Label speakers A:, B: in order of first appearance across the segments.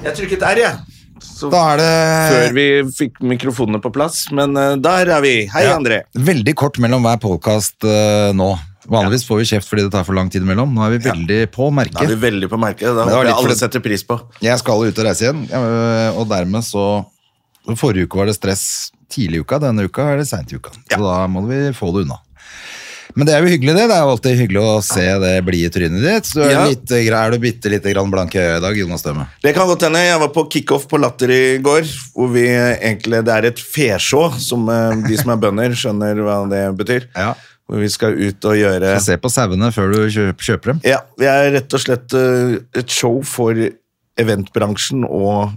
A: Jeg trykket R, jeg. Så
B: Da er det Eh.
A: før vi fikk mikrofonene på plass, men eh, der er vi. Hei,
B: Ja.
A: André.
B: veldig kort mellom hver podkast nå. Vanligvis får vi kjeft fordi det tar for lang tid imellom. Nå er vi veldig på
A: Da er
B: merket.
A: vi veldig på merket. Da
B: det var litt
A: håper jeg alle
B: fordi-
A: setter pris på.
B: Jeg skal ut og reise igjen, øh, og dermed så Forrige uke var det stress tidlig i uka, denne uka er det seint i uka. Så da må vi få det unna. Men det er jo hyggelig, det. Det er jo alltid hyggelig å se det blide trynet ditt. Så du er,
A: Ja.
B: litt, eh, er du bitte lite grann blank i øyet i dag, Jonas Døme.
A: Det kan godt hende. Jeg var på kickoff på Latter i går, hvor vi eh, egentlig Det er et fesjå, som eh, de som er bønder, skjønner hva det betyr.
B: Ja.
A: Hvor vi skal ut og gjøre
B: Se på sauene før du kjøp, kjøper dem.
A: Ja, vi er rett og slett eh, et show for eventbransjen og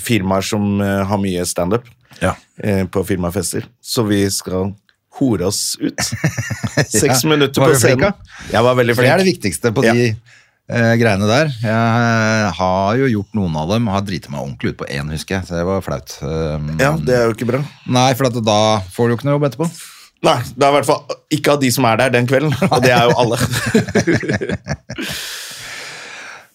A: firmaer som eh, har mye standup
B: Ja.
A: eh, på firmafester. Så vi skal hore oss ut. Seks minutter
B: Var
A: på
B: du flink,
A: scenen.
B: da?
A: Jeg var veldig
B: For det er det
A: flink.
B: viktigste på
A: Ja.
B: de eh, greiene der. Jeg har jo gjort noen av dem, har driti meg ordentlig ut på én, husker jeg. Så det var flaut. Um,
A: Ja, det er jo ikke bra.
B: Nei, for at da får du jo ikke noe jobb etterpå.
A: Nei, det er i hvert fall ikke av de som er der den kvelden, og det er jo alle.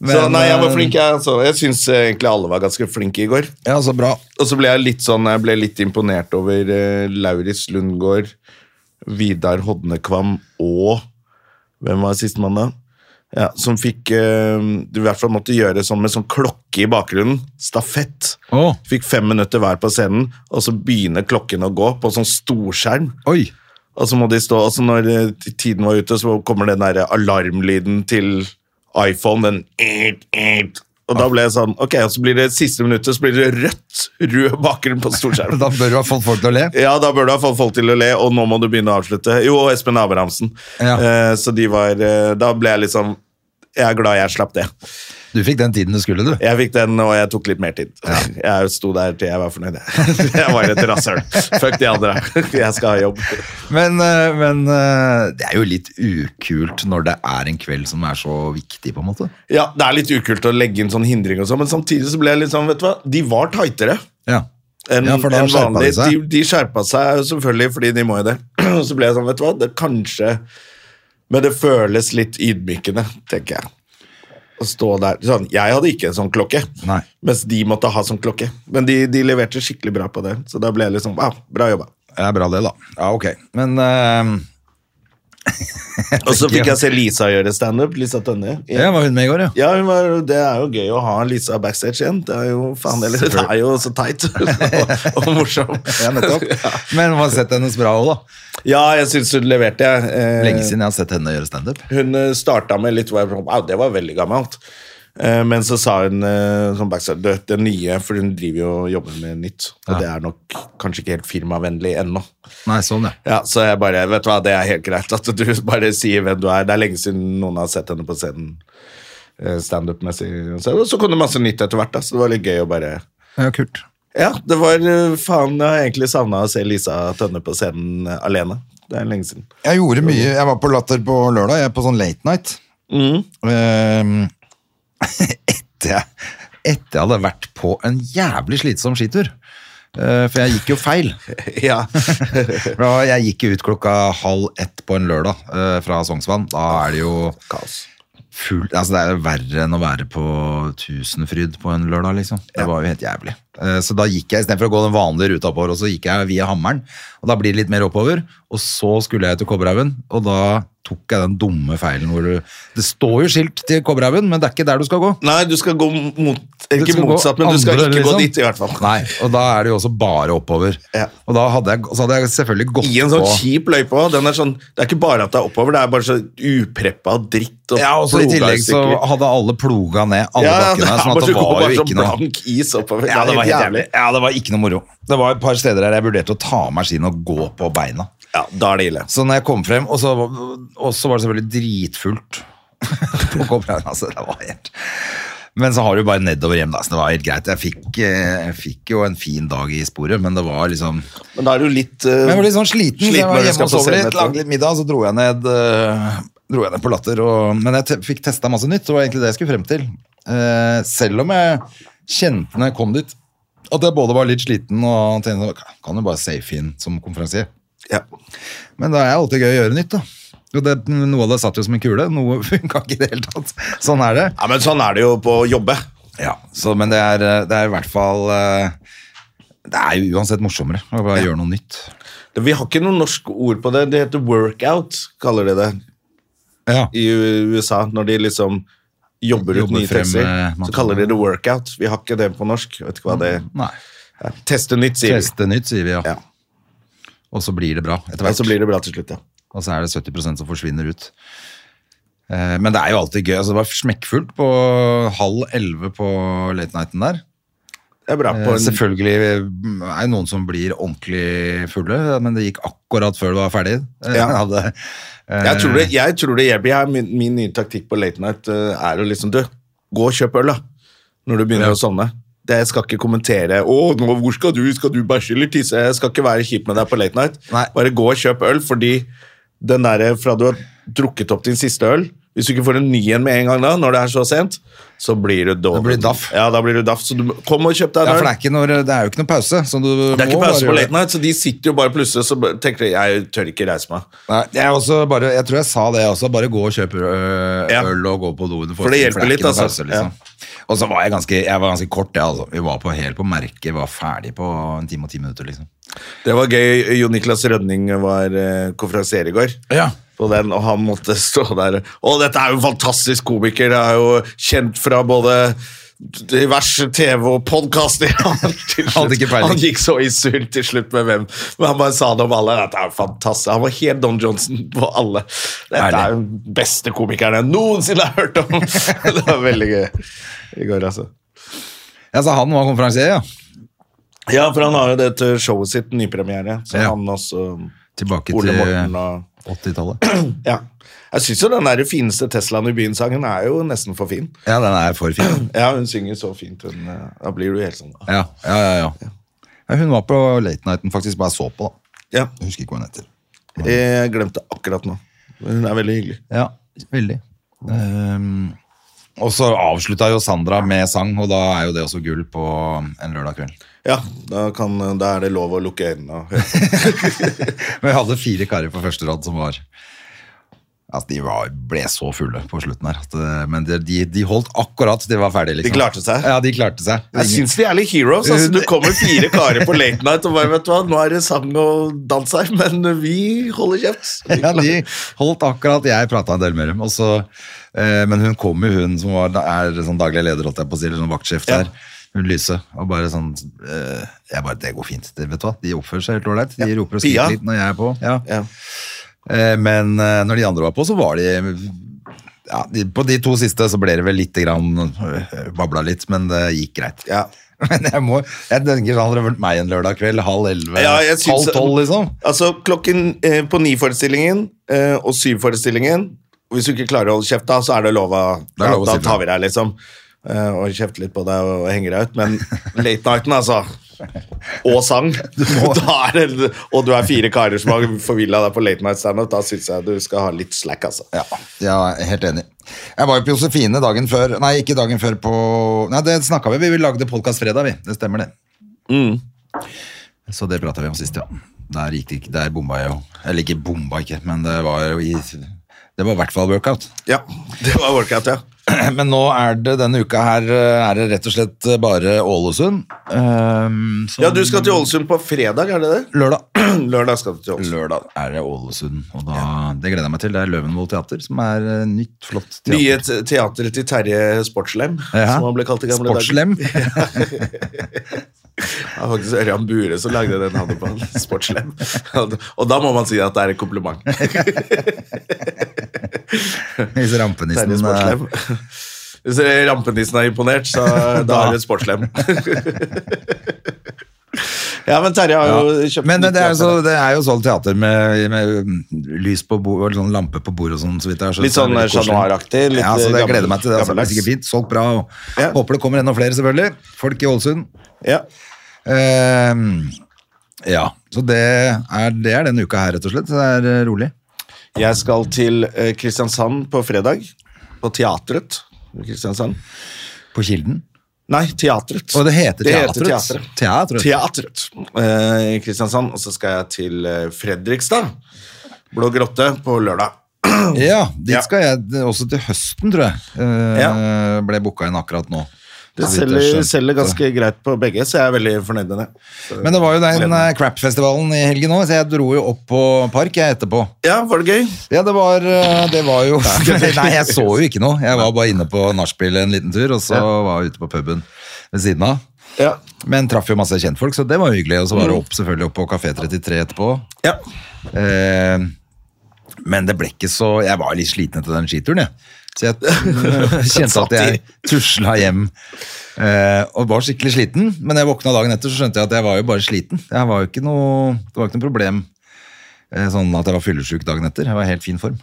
A: så
B: Men,
A: nei, jeg var
B: eh,
A: flink, jeg. Altså. Jeg syns egentlig alle var ganske flinke i går.
B: Ja, så bra.
A: Og så ble jeg litt sånn, jeg ble litt imponert over eh, Lauris Lundgaard, Vidar Hodnekvam og Hvem var sistemann, da? Ja, som fikk eh, Du i hvert fall måtte gjøre sånn med sånn klokke i bakgrunnen. Stafett.
B: Å.
A: Fikk fem minutter hver på scenen, og så begynner klokken å gå på sånn storskjerm.
B: Oi!
A: Og så må de stå, og så når eh, t- tiden var ute, så kommer den der alarmlyden til iPhone, den «eet, eet». Og da ble jeg sånn, ok, og så blir det siste minuttet, så blir det rødt, rød bakgrunn på storskjermen.
B: Da bør du ha fått folk til å le.
A: Ja, da bør du ha fått folk til å le, og nå må du begynne å avslutte. Jo, og Espen Abrahamsen.
B: Ja.
A: Eh, så de var, eh, da ble jeg litt sånn, jeg er glad jeg slapp det.
B: Du fikk den tiden du skulle, du.
A: Jeg fikk den, og jeg tok litt mer tid. Jeg sto der til jeg var fornøyd. Jeg var et rasshøl. Fuck de andre. Jeg skal ha jobb.
B: Men, eh, men eh, det er jo litt ukult når det er en kveld som er så viktig, på en måte.
A: Ja, det er litt ukult å legge inn sånn hindring og sånn, men samtidig så ble jeg litt sånn, vet du hva, de var tightere
B: Ja.
A: enn
B: Ja, for da
A: enn
B: skjerpa de
A: vanlig.
B: seg.
A: De, de skjerpa seg selvfølgelig, fordi de må jo det. Og så ble jeg sånn, vet du hva, det kanskje Men det føles litt ydmykende, tenker jeg. Å stå der sånn, Jeg hadde ikke en sånn klokke,
B: Nei.
A: mens de måtte ha sånn klokke. Men de, de leverte skikkelig bra på det, så da ble jeg litt sånn wow, bra jobba.
B: Det er bra, det, da. Ja, ok. Men eh,
A: Og så fikk jeg se Lisa gjøre standup. Lisa Tønne.
B: ja, var hun med i går, ja?
A: Ja, hun var, det er jo gøy å ha Lisa backstage igjen. Det er jo, faen, eller, det er jo så teit og, og morsom.
B: Ja, nettopp. Men man har sett hennes bra òg, da.
A: Ja, jeg syns hun leverte, jeg. Eh,
B: Lenge siden jeg har sett henne gjøre standup.
A: Hun eh, starta med litt hvor jeg var sånn, Au, det var veldig gammelt. Eh, Men så sa hun eh, sånn backstage det, det nye, for hun driver jo og jobber med nytt. Og
B: Ja.
A: det er nok kanskje ikke helt firmavennlig ennå.
B: Nei, sånn, ja.
A: Ja, Så jeg bare Vet du hva, det er helt greit at du bare sier hvem du er. Det er lenge siden noen har sett henne på scenen eh, standup-messig. Så- Og så kom det masse nytt etter hvert, da, så det var litt gøy å bare
B: Ja, kult.
A: Ja, det var eh, faen Jeg har egentlig savna å se Lisa Tønne på scenen eh, alene. Det er lenge siden.
B: Jeg gjorde mye. Jeg var på Latter på lørdag, jeg er på sånn late night. Ehm, etter, jeg, etter jeg hadde vært på en jævlig slitsom skitur. Eh, for jeg gikk jo feil.
A: Ja.
B: For da- Jeg gikk jo ut klokka halv ett på en lørdag eh, fra Sognsvann. Da er det jo
A: Kaos.
B: full, altså det er jo verre enn å være på Tusenfryd på en lørdag, liksom. Det var jo helt jævlig. Eh, Så da gikk jeg, istedenfor å gå den vanlige ruta oppover, og så gikk jeg via Hammeren. Og da blir det litt mer oppover, og så skulle jeg til Kobberhaugen, og da tok jeg den dumme feilen hvor du Det står jo skilt til Kobberhaugen, men det er ikke der du skal gå.
A: Nei, du skal gå mot
B: Du
A: Ikke
B: skal gå
A: motsatt, men du skal
B: andre,
A: ikke
B: liksom.
A: gå dit, i hvert fall.
B: Nei, og da er det jo også bare oppover.
A: Ja.
B: Og da hadde jeg, så hadde jeg selvfølgelig gått
A: I en sånn
B: på
A: kjip løype også. Den er sånn, det er ikke bare at det er oppover, det er bare så upreppa dritt. Og
B: ja, og så I
A: ploga
B: tillegg så
A: stykker.
B: hadde alle ploga ned alle
A: ja, ja, det
B: bakkene.
A: er
B: der, Sånn
A: bare
B: at det
A: så går
B: var
A: bare
B: jo
A: sånn
B: ikke noe
A: blank is oppover.
B: Ja, det var helt jævlig.
A: Ja,
B: Ja, det var ikke noe moro. Det var et par steder der jeg vurderte å ta av meg skiene og gå på beina.
A: ja, da er det ille.
B: Så når jeg kom frem, og så, og så var det selvfølgelig dritfullt på Kobberhaugen. Altså, det var helt Men så har du bare nedover hjem, da. Så det var helt greit. Jeg fikk, eh, jeg fikk jo en fin dag i sporet, men det var liksom
A: Men da er du litt eh,
B: Men jeg var litt sånn sliten, så jeg
A: når
B: var
A: du
B: hjemme
A: skal
B: og
A: på
B: sov litt,
A: scenen
B: lagde
A: etterpå.
B: litt middag, så dro jeg ned, eh, dro jeg ned på latter. Og, men jeg te fikk testa masse nytt, det var egentlig det jeg skulle frem til. Eh, selv om jeg kjente når jeg kom dit, at jeg både var litt sliten og tenkte sånn, kan jo bare safe inn som konferansier.
A: Ja.
B: Men det er alltid gøy å gjøre nytt, da. Og det, noe av det satt jo som en kule, noe funka ikke i det hele tatt. Sånn er det.
A: ja, men sånn er det jo på å jobbe.
B: Ja, så, men det er, eh, det er i hvert fall eh, Det er jo uansett morsommere å bare gjøre noe nytt.
A: Det- Vi har ikke noe norsk ord på det. Det heter workout, kaller de det
B: Ja.
A: i U- USA. Når de liksom jobber ut
B: Jobber
A: nye
B: frem,
A: tekster,
B: eh,
A: så kaller de det workout. Vi har ikke det på norsk. Jeg Vet ikke hva det
B: Nei.
A: er.
B: Mm.
A: Teste nytt, sier vi.
B: Teste nytt, sier vi, ja.
A: Ja.
B: Og så blir det bra etter
A: Og
B: hvert.
A: så blir det bra til slutt, ja.
B: Og så er det 70 som forsvinner ut. Eh, Men det er jo alltid gøy. altså Det var smekkfullt på halv elleve på late nighten der.
A: Det er bra
B: Eh,
A: på en
B: Selvfølgelig er det noen som blir ordentlig fulle, men det gikk akkurat før det var ferdig. Eh,
A: Ja.
B: hadde, eh,
A: Jeg tror det, jeg tror det hjelper. Jeg, min, min nye taktikk på late night eh, er å liksom Du, gå og kjøp øl, da. Når du begynner å sovne. Det, jeg skal ikke kommentere å, nå, 'Hvor skal du? Skal du bæsje eller tisse?' Jeg skal ikke være kjip med deg på late night.
B: Nei.
A: Bare gå og kjøp øl, fordi den derre fra du har drukket opp din siste øl Hvis du ikke får en ny en med en gang da, når det er så sent, så blir du dårlig.
B: blir daff.
A: Ja, da blir du daff. Så du, kom og kjøp deg
B: ja, for
A: en øl.
B: det er, ikke når, det er jo ikke noen pause. Så du
A: det er ikke
B: må bare
A: pause
B: gjøre
A: på
B: det.
A: late night, så de sitter jo bare plutselig så bare tenker de 'Jeg tør ikke reise meg'.
B: Nei, jeg, er også bare, jeg tror jeg sa det også. Bare gå og kjøp øh,
A: Ja.
B: øl og gå på do. under
A: For det
B: forestillingen,
A: hjelper litt,
B: ikke noe pause,
A: altså.
B: liksom. Og så var jeg ganske, jeg var ganske kort, jeg, altså. Vi var på, helt på merket. Var ferdig på en time og ti minutter, liksom.
A: Det var gøy. Jo Niklas Rønning var eh, konferansier i går.
B: Ja.
A: På den, og han måtte stå der. Og dette er jo en fantastisk komiker. Jeg er jo kjent fra både diverse TV og podkaster. Han, til
B: Han hadde
A: slutt-
B: ikke peiling.
A: han gikk så i surr til slutt med hvem. Men han bare sa det om alle. Dette er jo fantastisk. Han var helt Don Johnson på alle. Dette
B: Herlig.
A: er jo den beste komikeren jeg noensinne har hørt om! det var veldig gøy i går, altså.
B: ja, så han var konferansier, ja.
A: Ja, for han har jo dette showet sitt, nypremiere. Så
B: Ja.
A: han også
B: Tilbake
A: Ole Morten
B: til
A: og
B: 80-tallet.
A: Ja. Jeg syns jo den der fineste Teslaen i byen-sangen er jo nesten for fin.
B: Ja, den er for fin.
A: Ja, hun synger så fint. Hun, eh, da blir du helt sånn ah.
B: Ja, ja, ja. ja. ja hun var på late nighten, faktisk. Bare så på, da.
A: Ja,
B: Jeg husker ikke hva hun heter.
A: jeg glemte akkurat nå. Men Hun er veldig hyggelig.
B: Ja, veldig. Ehm, og så avslutta jo Sandra med sang, og da er jo det også gull på en lørdag kveld.
A: Ja, da, kan, da er det lov å lukke øynene og høre.
B: Men jeg hadde fire karer på første rad som var Altså, de var, ble så fulle på slutten her. At, eh, men de, de, de holdt akkurat til de var ferdige. Liksom.
A: De klarte seg.
B: Ja, de klarte seg.
A: Jeg syns de er litt heroes. Altså, du kommer fire karer på late night og bare vet du hva, nå er det sang og dans her, men vi holder kjeft.
B: ja, de holdt akkurat. Jeg prata en del med dem. Og så, eh, men hun kom jo, hun som var, er sånn daglig leder, holdt jeg på å si, eller sånn vaktsjef
A: Ja.
B: der. Hun Lyse. Og bare sånn eh, Jeg bare Det går fint. Det, vet du hva? De oppfører seg helt ålreit. De roper og
A: Pia.
B: skriker litt når jeg er på. Ja.
A: Ja.
B: Eh, Men eh, når de andre var på, så var de ja, de, På de to siste så ble det vel litt grann, øh, babla litt, men det gikk greit.
A: Ja.
B: Men jeg må, jeg tenker sånn, hadde det vært meg en lørdag kveld, halv elleve,
A: Ja, jeg syns-
B: halv tolv, liksom.
A: Altså, klokken eh, på ni-forestillingen eh, og syv-forestillingen Hvis du ikke klarer å holde kjeft, da, så er det lov å
B: Det er
A: Da,
B: lov å
A: da
B: si fra.
A: tar vi deg, liksom. Eh, og kjefter litt på deg og henger deg ut. Men late nighten, altså. Og sang. Da er det, og du er fire karer som har forvilla deg på late night standup. Da syns jeg du skal ha litt slack, altså.
B: Ja, jeg er helt enig. Jeg var jo på Josefine dagen før Nei, ikke dagen før på Nei, det snakka vi Vi lagde podkast fredag, vi. Det stemmer, det.
A: Mm.
B: Så det prata vi om sist, ja. Der, gikk det, ikke- der bomba jeg jo. Eller ikke bomba, ikke, men det var jo i Det var i hvert fall workout.
A: Ja, Det var workout, ja.
B: Men nå er det denne uka her eh, er det rett og slett bare Ålesund. ehm, som-
A: Ja, Du skal til Ålesund på fredag, er det det?
B: Lørdag.
A: Lørdag skal du til Ålesund.
B: Lørdag er det Ålesund, og da, det gleder jeg meg til. Det er Løvenvoll teater, som er eh, nytt, flott teater.
A: Nye te- teater til Terje Sportslem,
B: Ja.
A: som han ble kalt i gamle dager.
B: Sportslem.
A: Det var faktisk Ørjan Bure som lagde den han på Sportslem. Og da må man si at det er et kompliment.
B: Hvis rampenissen
A: Terje
B: eh,
A: Sportslem. Hvis rampenissen er imponert, så da er det Sportslem. Ja, men Terje har jo
B: Ja.
A: kjøpt
B: Men
A: nytt
B: det er, jo så,
A: teater.
B: det er jo sånn teater med, med lys på bordet, eller sånn lampe på bordet og sånn. så vidt det er. Så
A: Litt
B: så er det
A: sånn
B: veldig koselig.
A: Chat Noir-aktig, litt, eh,
B: Ja, så det jeg
A: gammel-
B: gleder meg til det. Altså, det
A: gammeldags.
B: er sikkert fint. Solgt bra. Og
A: Ja.
B: Håper det kommer enda flere, selvfølgelig. Folk i Ålesund.
A: Ja.
B: Ehm, ja, så det er, det er denne uka her, rett og slett. Så Det er eh, rolig.
A: Jeg skal til eh, Kristiansand på fredag. På Teatret. i Kristiansand.
B: På Kilden.
A: Nei, Teatret.
B: Og det heter Teatret.
A: Teatret.
B: Teatret.
A: Teatret eh, i Kristiansand. Og så skal jeg til eh, Fredrikstad. Blå grotte på lørdag.
B: Ja, dit
A: Ja.
B: skal jeg også til høsten, tror jeg. Eh,
A: Ja.
B: Ble booka inn akkurat nå.
A: Det
B: Så vidt jeg
A: selger,
B: skjønte.
A: selger ganske greit på begge, så jeg er veldig fornøyd med det. Så-
B: Men det var jo den eh, crap-festivalen i helgen òg, så jeg dro jo opp på Park jeg etterpå.
A: Ja, var det gøy?
B: Ja, det var, eh, det var jo Nei, jeg så jo ikke noe. Jeg var bare inne på nachspiel en liten tur, og så var jeg ute på puben ved siden av.
A: Ja.
B: Men traff jo masse kjentfolk, så det var hyggelig. Og så var det opp, selvfølgelig opp på Kafé 33 etterpå.
A: ja.
B: Eh, men det ble ikke så Jeg var litt sliten etter den skituren, jeg. Så jeg eh, kjente at jeg tusla hjem eh, og var skikkelig sliten. Men jeg våkna dagen etter, så skjønte jeg at jeg var jo bare sliten. Jeg var jo ikke noe, det var ikke noe problem eh, sånn at jeg var fyllesyk dagen etter. Jeg var i helt fin form.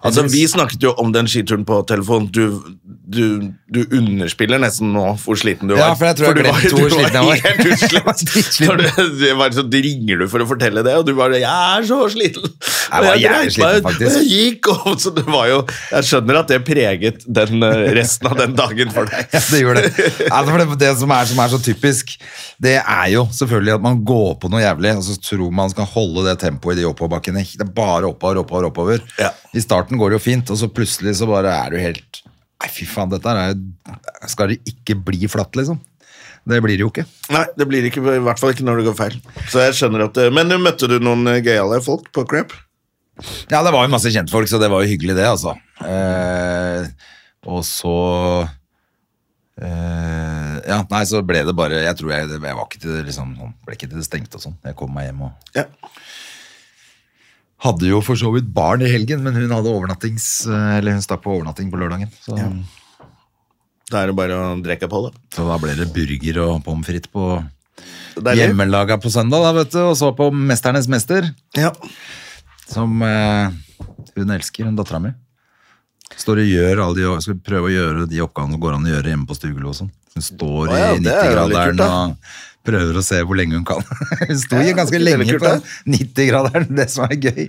A: Altså, Vi snakket jo om den skituren på telefon. Du, du, du underspiller nesten nå hvor sliten du
B: Ja,
A: var.
B: for jeg tror jeg
A: du var,
B: glemte hvor
A: du
B: sliten jeg var.
A: helt utslett.
B: Jeg var dritsliten.
A: Når du- det var sånn, ringer du for å fortelle det, og du bare 'Jeg er så sliten'.
B: Jeg var
A: Og
B: jævlig
A: dreit
B: sliten,
A: meg ut,
B: faktisk.
A: Og jeg gikk, og så det var jo Jeg skjønner at det preget den eh, resten av den dagen for deg.
B: Ja, det gjør det. Ja, for det, det som, er, som er så typisk, det er jo selvfølgelig at man går på noe jævlig, og så tror man skal holde det tempoet i de oppoverbakkene. Det er bare oppover, oppover, oppover.
A: Ja.
B: I starten går det jo fint, og så plutselig så bare er du helt Nei, fy faen, dette her er jo Skal det ikke bli flatt, liksom? Det blir det jo ikke.
A: Nei, det blir ikke, i hvert fall ikke når det går feil. Så jeg skjønner at det, Men møtte du noen eh, gøyale folk på Crap?
B: Ja, det var jo masse kjentfolk, så det var jo hyggelig, det, altså. Eh, og så eh, Ja, nei, så ble det bare Jeg tror jeg, jeg var ikke til det liksom sånn, Ble ikke til det stengte og sånn. Jeg kom meg hjem og
A: Ja.
B: Hadde jo for så vidt barn i helgen, men hun hadde overnattings Eller hun stakk på overnatting på lørdagen. Så,
A: Da er det bare å drikke på, da.
B: så da ble det burger og pommes frites på
A: Deilig.
B: hjemmelaga på søndag, da, vet du. Og så på Mesternes mester,
A: Ja.
B: som eh, hun elsker, hun dattera mi. Står og gjør alle de Skal prøve å gjøre de oppgavene det går an å gjøre hjemme på stuegulvet og sånn. Hun står
A: Å ja,
B: i
A: det er jo litt kult,
B: 90-graderen
A: da.
B: og prøver å se hvor lenge hun kan. Hun sto
A: Ja,
B: jo ganske
A: det er
B: lenge
A: veldig kult,
B: på
A: da.
B: 90-graderen. Det som er gøy,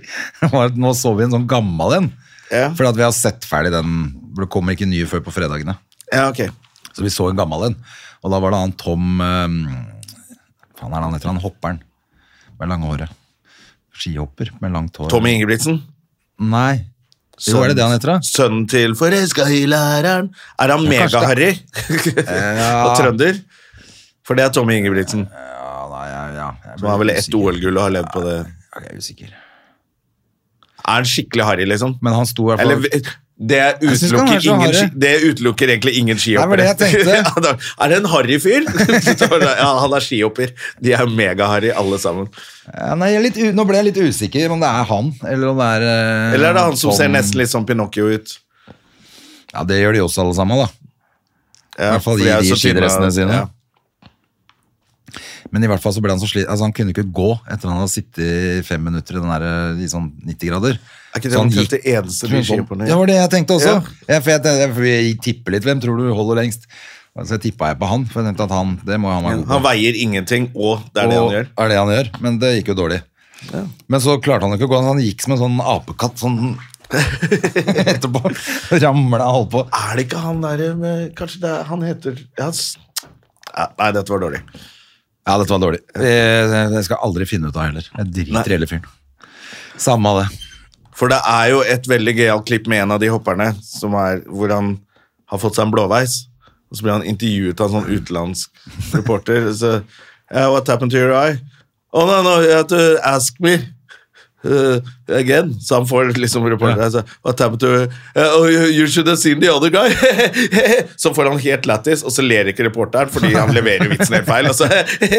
B: var at nå så vi en sånn gammel en.
A: Ja.
B: Fordi at vi har sett ferdig den, for det kommer ikke nye før på fredagene.
A: ja, ok.
B: Så vi så en gammel en, og da var det han Tom eh, Faen er det han heter, han hopperen med lange håret. Skihopper med langt hår.
A: Tommy Ingebrigtsen.
B: Nei. Jo, er det det han heter, da?
A: Sønnen til forelska i læreren. Er han
B: Ja, kanskje
A: mega-harry? og trønder? For det er Tommy Ingebrigtsen,
B: Ja, nei, ja, ja. Jeg
A: som har vel
B: ble
A: ett
B: usikker.
A: OL-gull og har levd på det.
B: Ja, Jeg er usikker.
A: Er han skikkelig harry, liksom?
B: Men han sto i hvert fall
A: Eller, det
B: Jeg synes ikke han er
A: utelukker,
B: så
A: ingen,
B: harry.
A: ski- det utelukker egentlig ingen
B: Nei, det
A: skihoppere.
B: var det jeg tenkte.
A: Ja, da- er det en harry fyr? Så var det- ja, han er skihopper. De er mega-harry, alle sammen.
B: ja, nei, jeg er litt u... Nå ble jeg litt usikker om det er han, eller om det er eh,
A: Eller er det han som
B: Tom-
A: ser nesten litt sånn Pinocchio ut?
B: Ja, det gjør de også, alle sammen, da.
A: Ja,
B: I hvert fall i
A: for de er
B: de
A: så tynne.
B: skidressene sine.
A: Ja.
B: Men i hvert fall så ble han så slitt Altså han kunne ikke gå etter han hadde sittet i fem minutter i, den der, i sånn 90 grader.
A: Er ikke
B: Så
A: det
B: han
A: omtrent
B: gikk-
A: det eneste de skihopperne
B: Sånn Ja, Det var det jeg tenkte også.
A: Ja.
B: Ja, for jeg, tenkte- for jeg tipper litt. Hvem tror du holder lengst? Så jeg tippa jeg på han, for jeg tenkte at han det må han være god på.
A: Han veier ingenting, og det er det han
B: Og-
A: gjør.
B: Er det han gjør, men det gikk jo dårlig. Men så klarte han ikke å gå, så han gikk som en sånn apekatt sånn etterpå. Ramla og holdt på.
A: Er det ikke han der med Kanskje det er, han heter ja, s- ja, Nei, dette var dårlig.
B: Ja, dette var dårlig. Jeg, jeg skal aldri finne ut av heller. Jeg driter i hele fyren. Samme av det.
A: For det er jo et veldig gøyalt klipp med en av de hopperne som er, hvor han har fått seg en blåveis. Og så blir han intervjuet av en sånn utenlandsk reporter. Så, yeah, what happened to your eye? Oh, no, no, you have to ask me. Uh, again, så han får liksom reporter altså, What happened to uh, oh, you, you should have seen the other guy Så får han helt lættis Og så ler ikke reporteren fordi han leverer vitsen helt feil Og så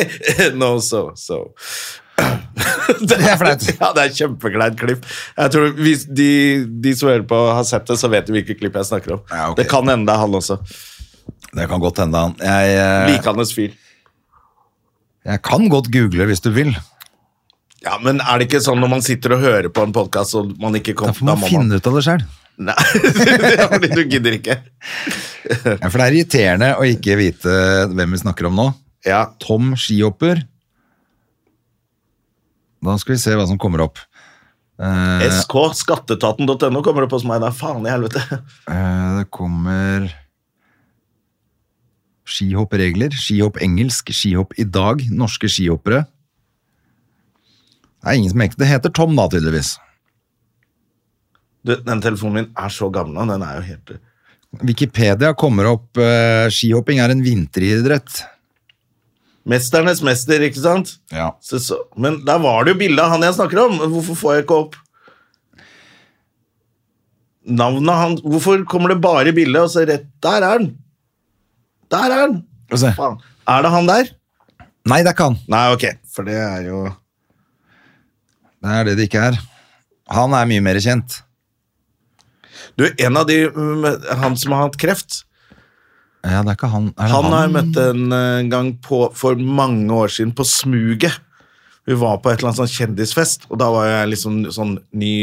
A: No, so, so det
B: er flaut.
A: Ja, det er kjempekleint klipp. Jeg tror hvis de, de som hører på har sett det, så vet de hvilket klipp jeg snakker om.
B: Ja, ok.
A: Det kan hende det er han også.
B: Det kan godt hende han jeg, eh,
A: Likandes fyr.
B: jeg Jeg kan godt google hvis du vil.
A: Ja, men er det ikke sånn når man sitter og hører på en podkast og man ikke
B: Da
A: kommer
B: får man finne ut av det sjøl.
A: Nei, det er fordi du gidder ikke.
B: Ja, for det er irriterende å ikke vite hvem vi snakker om nå.
A: Ja,
B: Tom skihopper. Da skal vi se hva som kommer opp. Eh,
A: SK, skatteetaten.no kommer opp hos meg. Da faen i helvete.
B: eh, det kommer Skihoppregler, skihopp engelsk, skihopp i dag, norske skihoppere. Det er ingen som ekte. Det heter Tom, da, tydeligvis.
A: Du, den telefonen min er så gammel nå. Den er jo helt
B: Wikipedia kommer opp eh, Skihopping er en vinteridrett.
A: Mesternes mester, ikke sant?
B: Ja.
A: Så, så. Men der var det jo bilde av han jeg snakker om. Hvorfor får jeg ikke opp navnet hans? Hvorfor kommer det bare bilde, og så rett Der er han! Der er han!
B: Få se.
A: Faen. Er det han der?
B: Nei, det er ikke han.
A: Nei, ok. For det er jo
B: Det er det det ikke er. Han er mye mer kjent.
A: Du, en av de mm, Han som har hatt kreft,
B: Ja, det er ikke han. Er det
A: han har jeg møtt en eh, gang på, for mange år siden på Smuget. Vi var på et eller annet sånn kjendisfest, og da var jeg liksom sånn ny,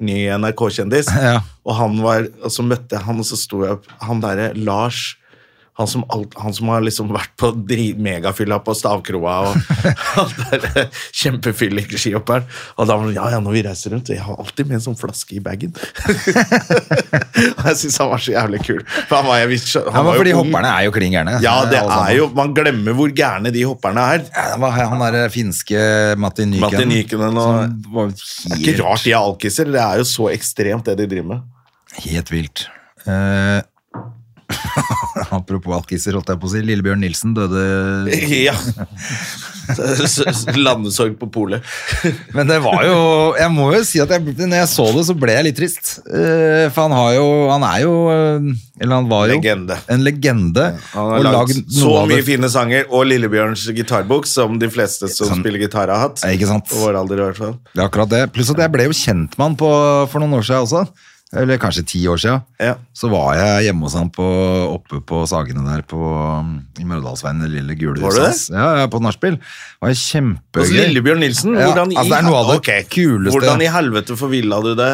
A: ny NRK-kjendis.
B: Ja.
A: Og han var, og så møtte jeg han, og så sto jeg opp Han derre Lars han som, alt, han som har liksom vært på dri- megafylla på Stavkroa og han derre kjempefyllik-skihopperen. Og da var han ja, ja, når vi reiser rundt, jeg har alltid med en sånn flaske i bagen. og jeg syns han var så jævlig kul. For han var, jeg, visste- han
B: Ja, men
A: var
B: fordi
A: jo ung.
B: hopperne er jo klin gærne.
A: Ja, det
B: alle
A: er
B: sammen.
A: jo Man glemmer hvor gærne de hopperne er.
B: Ja, det var Han derre finske Matti Nykänen.
A: Martin Nykänen og
B: som var
A: Det er
B: helt,
A: ikke rart de er alkiser. Det er jo så ekstremt, det de driver med.
B: helt vilt. Eh, apropos alkiser, holdt jeg på å si. Lillebjørn Nilsen døde
A: Ja. S- s- Landesorg på polet.
B: Men det var jo Jeg må jo si at jeg, når jeg så det, så ble jeg litt trist. Eh, for han har jo Han er jo eh, Eller han var jo
A: Legende.
B: en legende.
A: Han har
B: og
A: lagd
B: lagd
A: så
B: noe av
A: mye
B: det-
A: fine sanger, og Lillebjørns gitarbok, som de fleste som
B: Sånn.
A: spiller gitar, har hatt.
B: Ja, ikke sant?
A: På vår alder, i hvert fall.
B: Det er akkurat det. Pluss at jeg ble jo kjent med han på, for noen år siden også. Eller kanskje ti år siden.
A: Ja.
B: Så var jeg hjemme hos han på, oppe på Sagene der på, mm, i Mørdalsveien, det lille gule
A: Var du det?
B: hans. Ja, ja, på nachspiel. Det var
A: Hos
B: kjempegøy.
A: Altså, Lillebjørn Nilsen,
B: Ja,
A: hvordan,
B: altså, det er
A: i,
B: noe av det
A: Ok,
B: kuleste.
A: hvordan i helvete forvilla du det?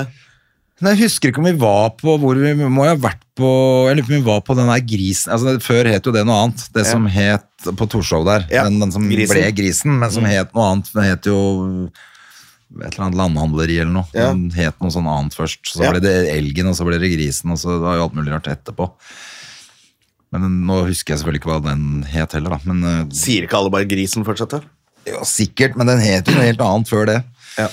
B: Men Jeg husker ikke om vi var på hvor vi må jo ha vært på Jeg lurer på om vi var på den der grisen altså, det- Før het jo det noe annet. Det som het på Torshov der.
A: Ja,
B: Den, den som
A: Grisen. Mm.
B: ble Grisen, men som het noe annet. Den het jo et eller annet landhandleri eller noe.
A: Ja.
B: Den het noe sånn annet først. Så
A: Ja.
B: ble det Elgen, og så ble det Grisen, og så det var jo alt mulig rart etterpå. Men nå husker jeg selvfølgelig ikke hva den het heller, da. Men eh,
A: Sier ikke alle bare grisen fortsatt, da?
B: ja, sikkert, men den het jo noe helt annet før det.
A: Ja.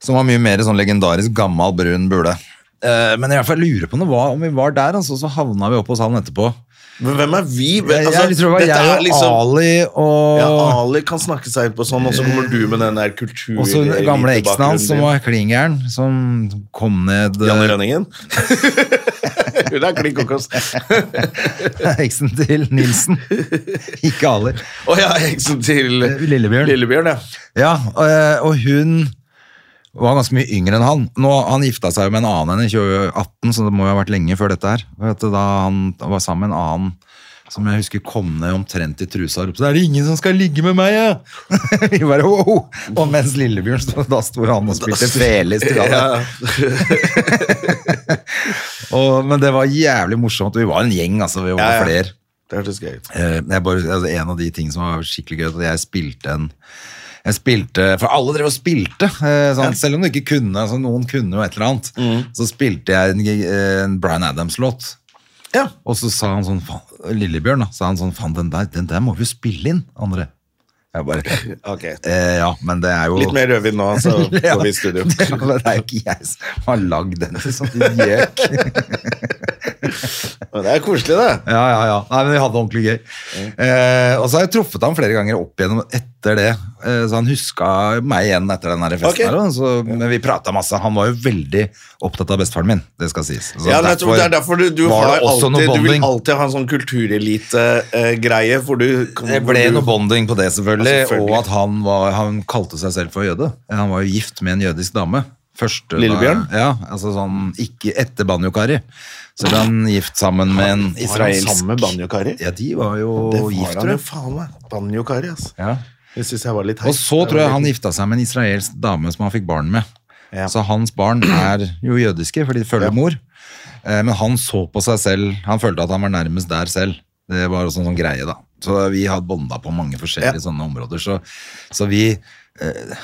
B: Som var mye mer sånn legendarisk gammel brun bule. Eh, men i hvert fall lurer på om det var, om vi var der, altså, så havna vi opp hos han etterpå.
A: Men hvem er vi?
B: Jeg,
A: Altså,
B: jeg tror det var
A: dette
B: jeg
A: er
B: og
A: liksom-
B: Ali og,
A: ja, Ali kan snakke seg ut på sånn, og så kommer du med den der kultur...
B: og så den gamle eksen hans som
A: din.
B: var klingeren, som kom ned
A: Janne
B: eh,
A: Rønningen? Hun er klin kokos.
B: Eksen til Nilsen. Ikke Ali.
A: Å ja, eksen til
B: Lillebjørn.
A: Eh, Lillebjørn, ja.
B: Ja, eh, og hun var ganske mye yngre enn han. Nå, han gifta seg jo med en annen enn i 2018, så det må jo ha vært lenge før dette her. Og vet du, Da han var sammen med en annen som jeg husker kom ned omtrent i trusa og ropte 'Det er ingen som skal ligge med meg', ja!» Vi bare, wow. Og mens Lillebjørn stod, da sto han og spilte fele i stua. der.
A: Ja.
B: Og- Men det var jævlig morsomt. Vi var en gjeng, altså. Vi var
A: Ja, ja.
B: flere.
A: Det hørtes gøy ut.
B: Eh, jeg bare, altså, en av de tingene som var skikkelig gøy, var at jeg spilte en jeg spilte, For alle drev og spilte, eh, sånn, selv om du ikke kunne. Altså, noen kunne jo et eller annet.
A: Mm.
B: Så spilte jeg en, eh, en Bryan Adams-låt,
A: Ja.
B: og så sa han sånn faen, Lillebjørn da, sa han sånn Faen, den der, den der må vi jo spille inn, André. Jeg bare
A: Ok. Oh.
B: eh, Ja, men det er jo
A: Litt mer rødvin nå, så går vi i studio.
B: det er jo ikke jeg som har lagd den. Sånn gjøk.
A: Men Det er koselig, det.
B: Ja, ja, ja. Nei, men vi hadde det ordentlig gøy. Eh, og så har jeg truffet ham flere ganger opp igjennom etter det. Eh, så han huska meg igjen etter den der festen.
A: Ok.
B: her, og så, men vi prata masse. Han var jo veldig opptatt av bestefaren min. Det skal sies. Så
A: Ja, men jeg tror det er derfor du, du,
B: var
A: har
B: det også
A: alltid,
B: noe
A: du vil
B: bonding.
A: alltid ha en sånn kulturelite-greie, eh, for du
B: Det ble noe bonding på det, selvfølgelig.
A: Ja, selvfølgelig.
B: Og at han, var, han kalte seg selv for jøde. Han var jo gift med en jødisk dame. Første,
A: Lillebjørn?
B: Ja, altså sånn ikke etter Banjo-Kari. Så ble han gift sammen med en
A: Israelsk.
B: israelsk
A: Sammen med banjokari?
B: Ja, de var jo
A: Det var
B: gift,
A: han
B: tror
A: jo
B: jeg.
A: faen meg. Banjokari, altså.
B: Ja.
A: Det syns jeg var litt
B: Og så tror jeg han gifta seg med en israelsk dame som han fikk barn med.
A: Ja.
B: Så hans barn er jo jødiske, fordi de følger mor. Eh, Men han så på seg selv, han følte at han var nærmest der selv. Det var også en sånn greie, da. Så vi har bonda på mange forskjellige
A: Ja.
B: sånne områder. Så, så vi eh,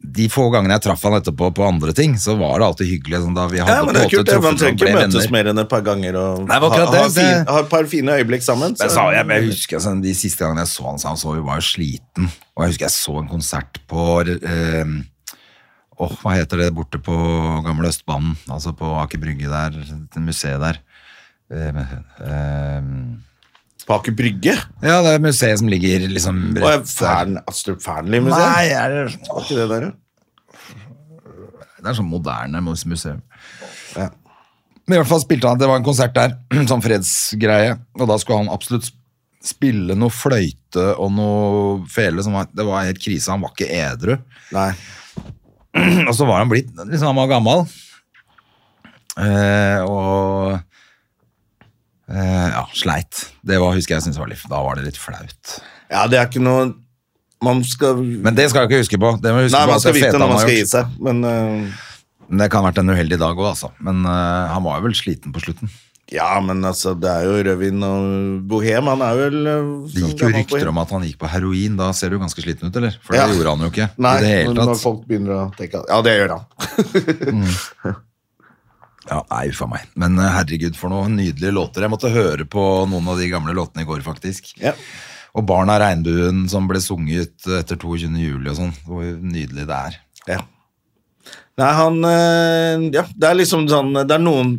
B: De få gangene jeg traff han etterpå på andre ting, så var det alltid hyggelig. Sånn, da vi hadde
A: Ja,
B: på
A: men det
B: en
A: er kult.
B: måte
A: det. Man
B: truffet
A: trenger
B: og ble
A: ikke møtes
B: venner.
A: mer enn et par ganger og
B: Nei, men akkurat
A: ha, ha,
B: det,
A: fin,
B: det-
A: ha et par fine øyeblikk sammen.
B: Men
A: så-
B: jeg, sa, jeg, jeg husker sånn, De siste gangene jeg så han, så han så vi var jo sliten. Og jeg husker jeg så en konsert på eh, åh, Hva heter det borte på gamle Østbanen? Altså på Aker Brygge der, det museet der. Eh, eh,
A: På Aker Brygge?
B: ja, det er museet som ligger liksom
A: Og jeg- altså,
B: rett der.
A: Fern, Astrup Fearnley-museet?
B: Nei, er det,
A: Var ikke det der, ja?
B: Det er sånn moderne mus- museum.
A: Ja.
B: Men i hvert fall spilte han, det var en konsert der, sånn fredsgreie, og da skulle han absolutt sp- spille noe fløyte og noe fele, som var, det var helt krise, han var ikke edru.
A: Nei.
B: Og så var han blitt, liksom han var gammel, eh, og eh, ja, sleit. Det var, husker jeg, synes var litt, da var det litt flaut.
A: Ja, det er ikke noe Man skal Nei,
B: Men det skal jeg ikke huske på. Det må jeg huske på
A: man
B: at
A: skal
B: det
A: vite
B: fete
A: når
B: han
A: man
B: har
A: skal
B: gjort.
A: gi seg, men øh,
B: Men Det kan ha vært en uheldig dag også, altså. Men eh, han var jo vel sliten på slutten.
A: Ja, men altså, det er jo rødvin og bohem. Han er vel øh,
B: Det
A: som
B: gikk jo
A: gammel
B: rykter
A: bohem.
B: om at han gikk på heroin. Da ser du ganske sliten ut, eller? For
A: Ja.
B: det gjorde han jo ikke.
A: Nei,
B: i det hele
A: når, når
B: tatt.
A: folk begynner å tenke at Ja, det gjør han.
B: Ja, nei, uffa meg. Men eh, herregud, for noen nydelige låter. Jeg måtte høre på noen av de gamle låtene i går, faktisk.
A: Ja.
B: Og Barn av regnbuen, som ble sunget etter 22. juli og sånn. Hvor nydelig det er.
A: Ja. Nei, han øh, Ja, det er liksom sånn Det er noen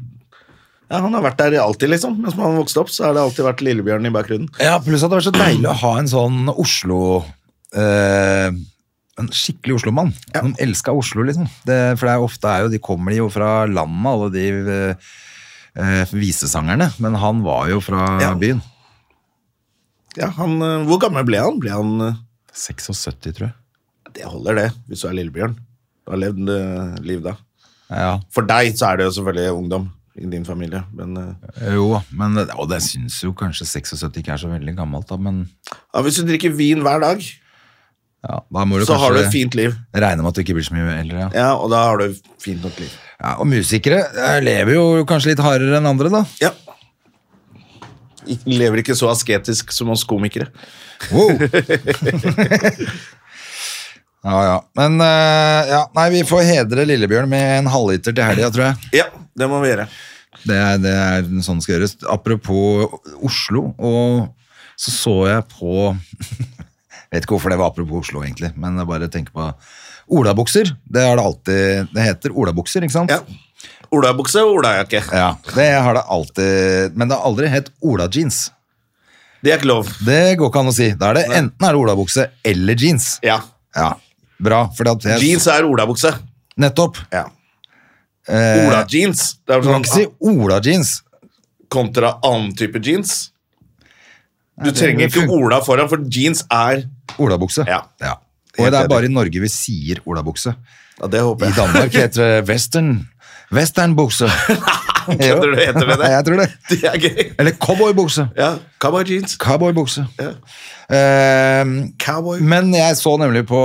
A: ja, Han har vært der alltid, liksom. Mens man vokste opp, så har det alltid vært Lillebjørn i bakgrunnen.
B: Ja, pluss at det var så deilig å ha en sånn Oslo eh, En skikkelig Oslo-mann. Som elska Oslo, liksom. Det, for det er ofte er jo, de kommer jo fra landet, alle de eh, eh, visesangerne. Men han var jo fra
A: Ja.
B: byen.
A: Ja, han, øh, Hvor gammel ble han? Ble han øh,
B: 76, tror jeg.
A: Det holder, det, hvis du er Lillebjørn. Du har levd øh, liv da.
B: Ja,
A: For deg så er det jo selvfølgelig ungdom i din familie, men øh,
B: jo, men og det syns jo kanskje 76 ikke er så veldig gammelt, da, men
A: ja, hvis du drikker vin hver dag,
B: ja, da må du
A: så har du et
B: kanskje
A: fint liv.
B: regne med at du ikke blir så mye eldre. Ja.
A: Ja, og da har du fint nok liv.
B: Ja, og musikere eh, lever jo kanskje litt hardere enn andre, da.
A: Ja. Ik- Lever ikke så asketisk som oss komikere.
B: Wow. ja, ja. Men eh, ja, nei, vi får hedre Lillebjørn med en halvliter til helga, tror jeg.
A: Ja, det må vi gjøre.
B: Det er, det er sånn det skal gjøres. Apropos Oslo, og så så jeg på Vet ikke hvorfor det var apropos Oslo, egentlig, men jeg bare tenker på Olabukser. Det er det alltid Det heter olabukser, ikke sant?
A: Ja. Olabukse og olajakke.
B: Ja, det har det alltid Men det har aldri hett olajeans.
A: Det er ikke lov.
B: Det går ikke an å si. Da er det enten er det olabukse eller jeans.
A: Ja.
B: Ja, bra. Fordi at jeg,
A: Jeans er olabukse.
B: Nettopp.
A: Ja.
B: Eh,
A: Olajeans. Det er
B: Du kan
A: sånn
B: ikke si Ola-jeans.
A: kontra annen type jeans. Du
B: det
A: trenger ikke
B: funker.
A: Ola foran, for jeans er
B: Olabukse.
A: Ja.
B: Og
A: Helt
B: det er
A: enig.
B: bare i Norge vi sier olabukse.
A: Ja, det håper
B: I
A: jeg.
B: Danmark heter det western. Westernbukse.
A: Kødder du, heter det det?
B: Jeg tror det.
A: Det er gøy.
B: Eller cowboybukse.
A: Ja. Cowboy jeans.
B: Cowboybukse.
A: Ja.
B: Ehm,
A: Cowboy.
B: men jeg så nemlig på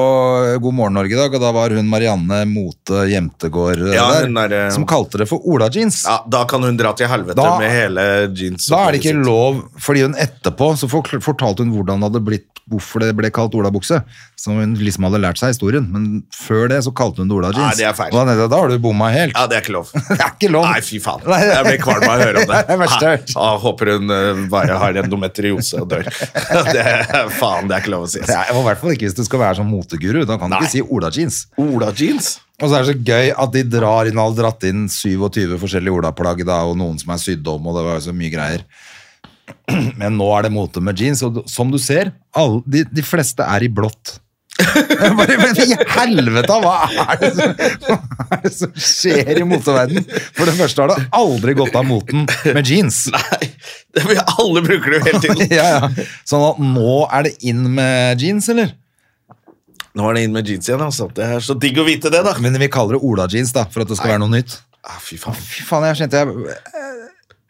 B: God morgen Norge i dag, og da var hun Marianne Mote Jemtegård eh,
A: Ja,
B: der,
A: hun er, eh,
B: som kalte det for olajeans.
A: Ja, da kan hun dra til helvete
B: Da-
A: med hele jeans.
B: Da er det ikke lov, fordi hun etterpå så forkl- fortalte hun hvordan det hadde blitt, hvorfor det ble kalt olabukse, som hun liksom hadde lært seg historien, men før det så kalte hun det olajeans.
A: Nei, det er feil.
B: Og Da, tenkte jeg, da har du bomma helt.
A: Ja, det er ikke lov.
B: Det er ikke lov.
A: Nei, fy faen.
B: Nei.
A: Jeg blir kvalm av å høre om det.
B: Det er verst jeg har hørt.
A: Ja, jeg håper hun eh, bare har endometriose og dør. Det, er- faen, det er ikke lov å si.
B: Det er, og I hvert fall ikke hvis du skal være sånn moteguru. Da kan du
A: Nei.
B: ikke si olajeans.
A: Olajeans?
B: Og så er det så gøy at de drar inn og har dratt inn 27 forskjellige olaplagg, da, og noen som er sydd om, og det var jo så mye greier. Men nå er det mote med jeans, og som du ser, alle, de, de fleste er i blått. Jeg Bare, men I helvete, hva er, det som, hva er det som skjer i moteverden? For det første har det aldri gått av moten med jeans.
A: Nei, det, vi alle bruker det jo hele tiden.
B: Ja, ja. Sånn at nå er det inn med jeans, eller?
A: Nå er det inn med jeans igjen, altså. Det er så digg å vite det, da.
B: Men vi kaller det olajeans, da, for at det skal være noe nytt.
A: Ah, fy faen.
B: Fy faen, jeg kjente jeg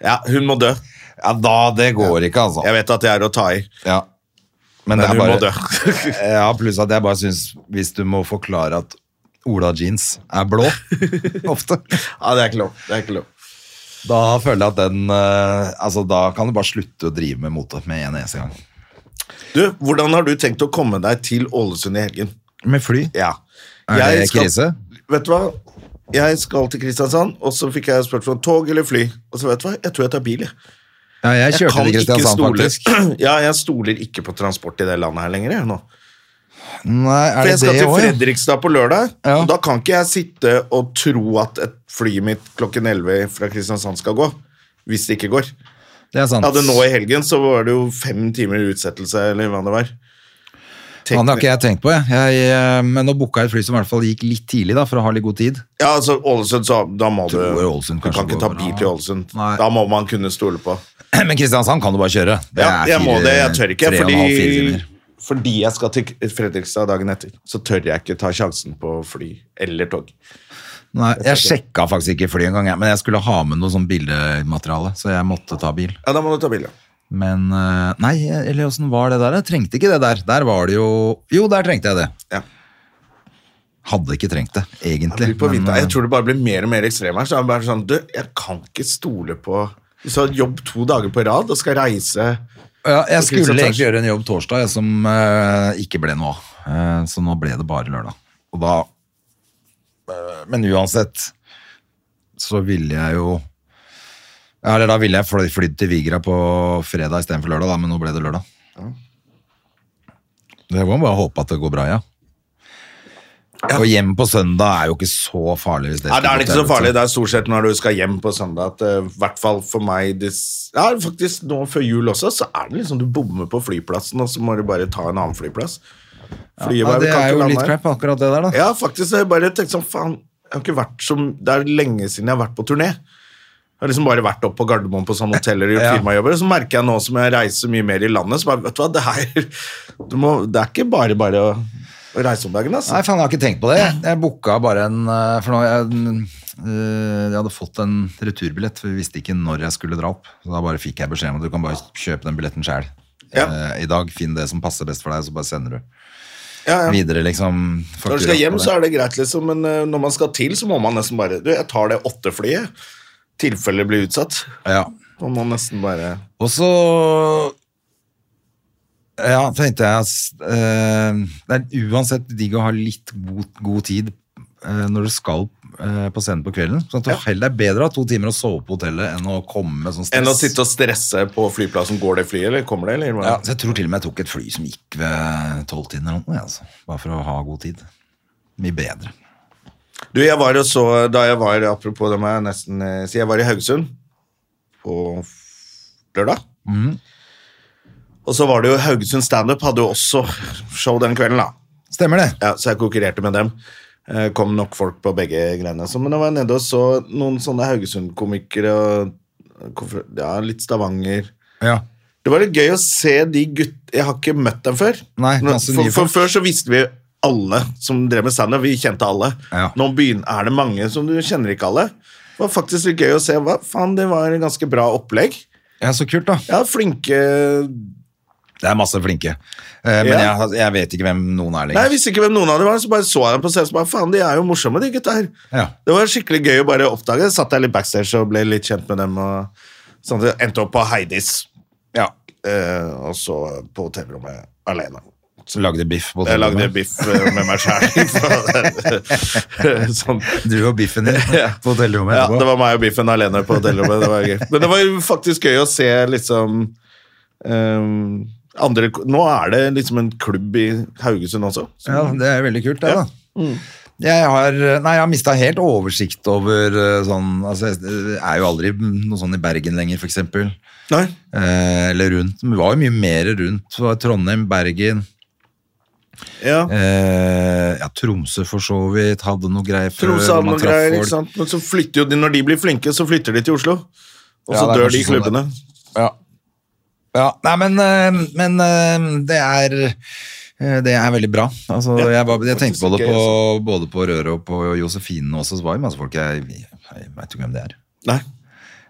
A: Ja, hun må dø.
B: Ja, da, det går ikke, altså.
A: Jeg vet at det er å ta i.
B: Ja. Men
A: Nei,
B: det er
A: du må
B: bare, ja, pluss at jeg bare syns Hvis du må forklare at Ola jeans er blå, ofte,
A: Ja, det er ikke lov. Det er ikke lov.
B: da føler jeg at den eh, Altså, da kan du bare slutte å drive med mote med en eneste gang.
A: Du, hvordan har du tenkt å komme deg til Ålesund i helgen?
B: Med fly?
A: Ja.
B: Er
A: Jeg
B: det krise?
A: Vet du hva? Jeg skal til Kristiansand, og så fikk jeg spørsmål om tog eller fly. Og så vet du hva? Jeg tror jeg tar bil, jeg.
B: Ja, jeg kjørte
A: kan
B: til
A: ikke
B: Kristiansand,
A: stole-
B: faktisk.
A: Ja, jeg stoler ikke på transport i det landet her lenger, jeg nå.
B: Nei,
A: For
B: er det
A: jeg skal
B: det
A: til
B: òg? Ja?
A: Fredrikstad på lørdag,
B: Ja.
A: og da kan ikke jeg sitte og tro at et fly mitt klokken 11 fra Kristiansand skal gå. Hvis det ikke går.
B: Det er sant.
A: Ja, det nå i helgen så var det jo fem timer utsettelse, eller hva det var.
B: Han har ikke jeg tenkt på, jeg. jeg eh, men nå booka jeg et fly som i hvert fall gikk litt tidlig, da, for å ha litt god tid.
A: Ja, altså Ålesund, så da må du
B: Tror Ålesund
A: Du kan
B: kanskje
A: ikke ta
B: går
A: bil
B: bra.
A: til Ålesund.
B: Nei.
A: Da må man kunne stole på.
B: Men Kristiansand kan du bare kjøre. Det
A: Ja,
B: er
A: jeg må
B: fire-
A: det. Jeg tør ikke,
B: tre og en halv, fire
A: fordi,
B: timer.
A: fordi jeg skal til Fredrikstad dagen etter. Så tør jeg ikke ta sjansen på fly eller tog.
B: Nei, jeg sjekka faktisk ikke fly engang, jeg, men jeg skulle ha med noe sånn bildemateriale, så jeg måtte ta bil.
A: Ja, da må du ta bil, ja.
B: Men eh, Nei, eller åssen var det der? Jeg trengte ikke det der. Der var det jo Jo, der trengte jeg det.
A: Ja.
B: Hadde ikke trengt det, egentlig.
A: Jeg, blir på
B: men,
A: vidda.
B: eh,
A: jeg tror det bare blir mer og mer ekstrem her. Så jeg er bare sånn, du, jeg kan ikke stole på Hvis du har jobb to dager på rad og skal reise
B: ja, jeg
A: Ok,
B: skulle
A: så tar-
B: egentlig gjøre en jobb torsdag jeg, som eh, ikke ble noe av. Eh, så nå ble det bare lørdag. Og da eh, Men uansett så ville jeg jo ja, Eller da ville jeg fly- flydd til Vigra på fredag istedenfor lørdag, da, men nå ble det lørdag. Jeg må bare håpe at det går bra, ja. Og hjem på søndag er jo ikke så farlig. Hvis det
A: Nei, det
B: skulle
A: er
B: gå
A: ikke så
B: til
A: farlig.
B: helvete.
A: Det er stort sett når du skal hjem på søndag at eh, i hvert fall for meg det, s- Ja, faktisk nå før jul også, så er det liksom du bommer på flyplassen, og så må du bare ta en annen flyplass. Flyet
B: Ja,
A: bare,
B: det
A: kan ikke
B: er jo
A: lande
B: litt
A: her.
B: crap, akkurat det der, da.
A: Ja, faktisk. Jeg bare tenkte sånn, faen, jeg har ikke vært som, det er lenge siden jeg har vært på turné. Jeg har liksom bare vært opp på Gardermoen på sånne hoteller og gjort
B: Ja.
A: firmajobber, og så merker jeg nå som jeg reiser mye mer i landet, så bare, vet du hva, det her, du må, det er ikke bare bare å, å reise om dagen, altså.
B: Nei, faen, jeg har ikke tenkt på det. Jeg booka bare en eh, For nå jeg, eh, jeg hadde fått en returbillett, for vi visste ikke når jeg skulle dra opp. Så da bare fikk jeg beskjed om at du kan bare kjøpe den billetten sjæl.
A: Ja.
B: I dag, finn det som passer best for deg, så bare sender du
A: Ja, ja.
B: videre, liksom.
A: Når du
B: faktura
A: skal hjem,
B: på
A: så er det greit, liksom, men eh, når man skal til, så må man nesten bare, du, jeg tar det åtte flyet, tilfellet blir utsatt,
B: Ja.
A: man må nesten bare...
B: Og så Ja, tenkte jeg ass, eh, Det er uansett digg å ha litt god, god tid eh, når du skal eh, på scenen på kvelden. Sånn at du heller er bedre å ha to timer å sove på hotellet enn å komme med sånn stress.
A: Enn å sitte og stresse på flyplassen, går det flyet, eller kommer det, eller? hva?
B: ja, så Jeg tror til og med jeg tok et fly som gikk ved tolvtiden eller noe. jeg, Altså. Bare for å ha god tid. Mye bedre.
A: Du, jeg var og så, da jeg var, apropos det må jeg nesten eh, si, jeg var i Haugesund på f- lørdag. Og så var det jo Haugesund Standup hadde jo også show den kvelden, da.
B: Stemmer det.
A: Ja, så jeg konkurrerte med dem. Eh, Kom nok folk på begge greiene. Så, men da var jeg nede og så noen sånne Haugesund-komikere og eh, konfer- ja, litt Stavanger.
B: Ja.
A: Det var litt gøy å se de gutt... Jeg har ikke møtt dem før.
B: Nei,
A: Nå-
B: masse nye
A: for, for
B: folk.
A: Før så visste vi alle som drev med standup. Vi kjente alle.
B: Ja.
A: Nå begyn- er det mange som du kjenner ikke alle. Det var faktisk litt gøy å se. Hva faen, det var et ganske bra opplegg.
B: ja, så kult, da.
A: Ja, flinke
B: Det er masse flinke. Eh, men
A: Ja.
B: jeg, jeg vet ikke hvem noen er
A: Nei, jeg
B: lenger.
A: visste ikke hvem noen av dem var, så bare så jeg dem på scenen. Så bare, faen, de er jo morsomme, de gutta her.
B: Ja.
A: Det var skikkelig gøy å bare oppdage. Satt jeg litt backstage og ble litt kjent med dem. Og, sånn, endte opp på Heidis,
B: Ja.
A: eh, og så på hotellrommet alene.
B: Så lagde biff på
A: Jeg lagde
B: hotellet.
A: biff eh, med meg sjæl. sånn.
B: Du og biffen din på hotellrommet
A: Ja,
B: etterpå.
A: det var meg og biffen alene på hotellrommet. Det var gøy. Men det var jo faktisk gøy å se liksom ehm, andre Nå er det liksom en klubb i Haugesund også.
B: Ja, det er veldig kult, det,
A: Ja. Mm.
B: da. Jeg har, nei, jeg har mista helt oversikt over eh, sånn altså, Jeg er jo aldri noe sånn i Bergen lenger, f.eks.
A: Nei.
B: Eh, eller rundt. Men Vi var jo mye mer rundt. Det var Trondheim, Bergen,
A: Ja.
B: eh, ja, Tromsø for så vidt. Hadde noe greier før.
A: Tromsø hadde
B: man
A: noen
B: traff
A: greier,
B: folk.
A: ikke sant. Men så flytter jo de, når de blir flinke, så flytter de til Oslo.
B: Ja,
A: Og så
B: det er
A: dør de
B: kanskje sånn det er.
A: klubbene.
B: Ja. ja. Nei, men, eh, men eh, det er eh, det er veldig bra. Altså,
A: Ja,
B: jeg, var, jeg tenkte på det
A: faktisk gøy,
B: på, både på Røret og på Josefine også, så var det masse folk jeg, jeg veit ikke hvem det er.
A: Nei.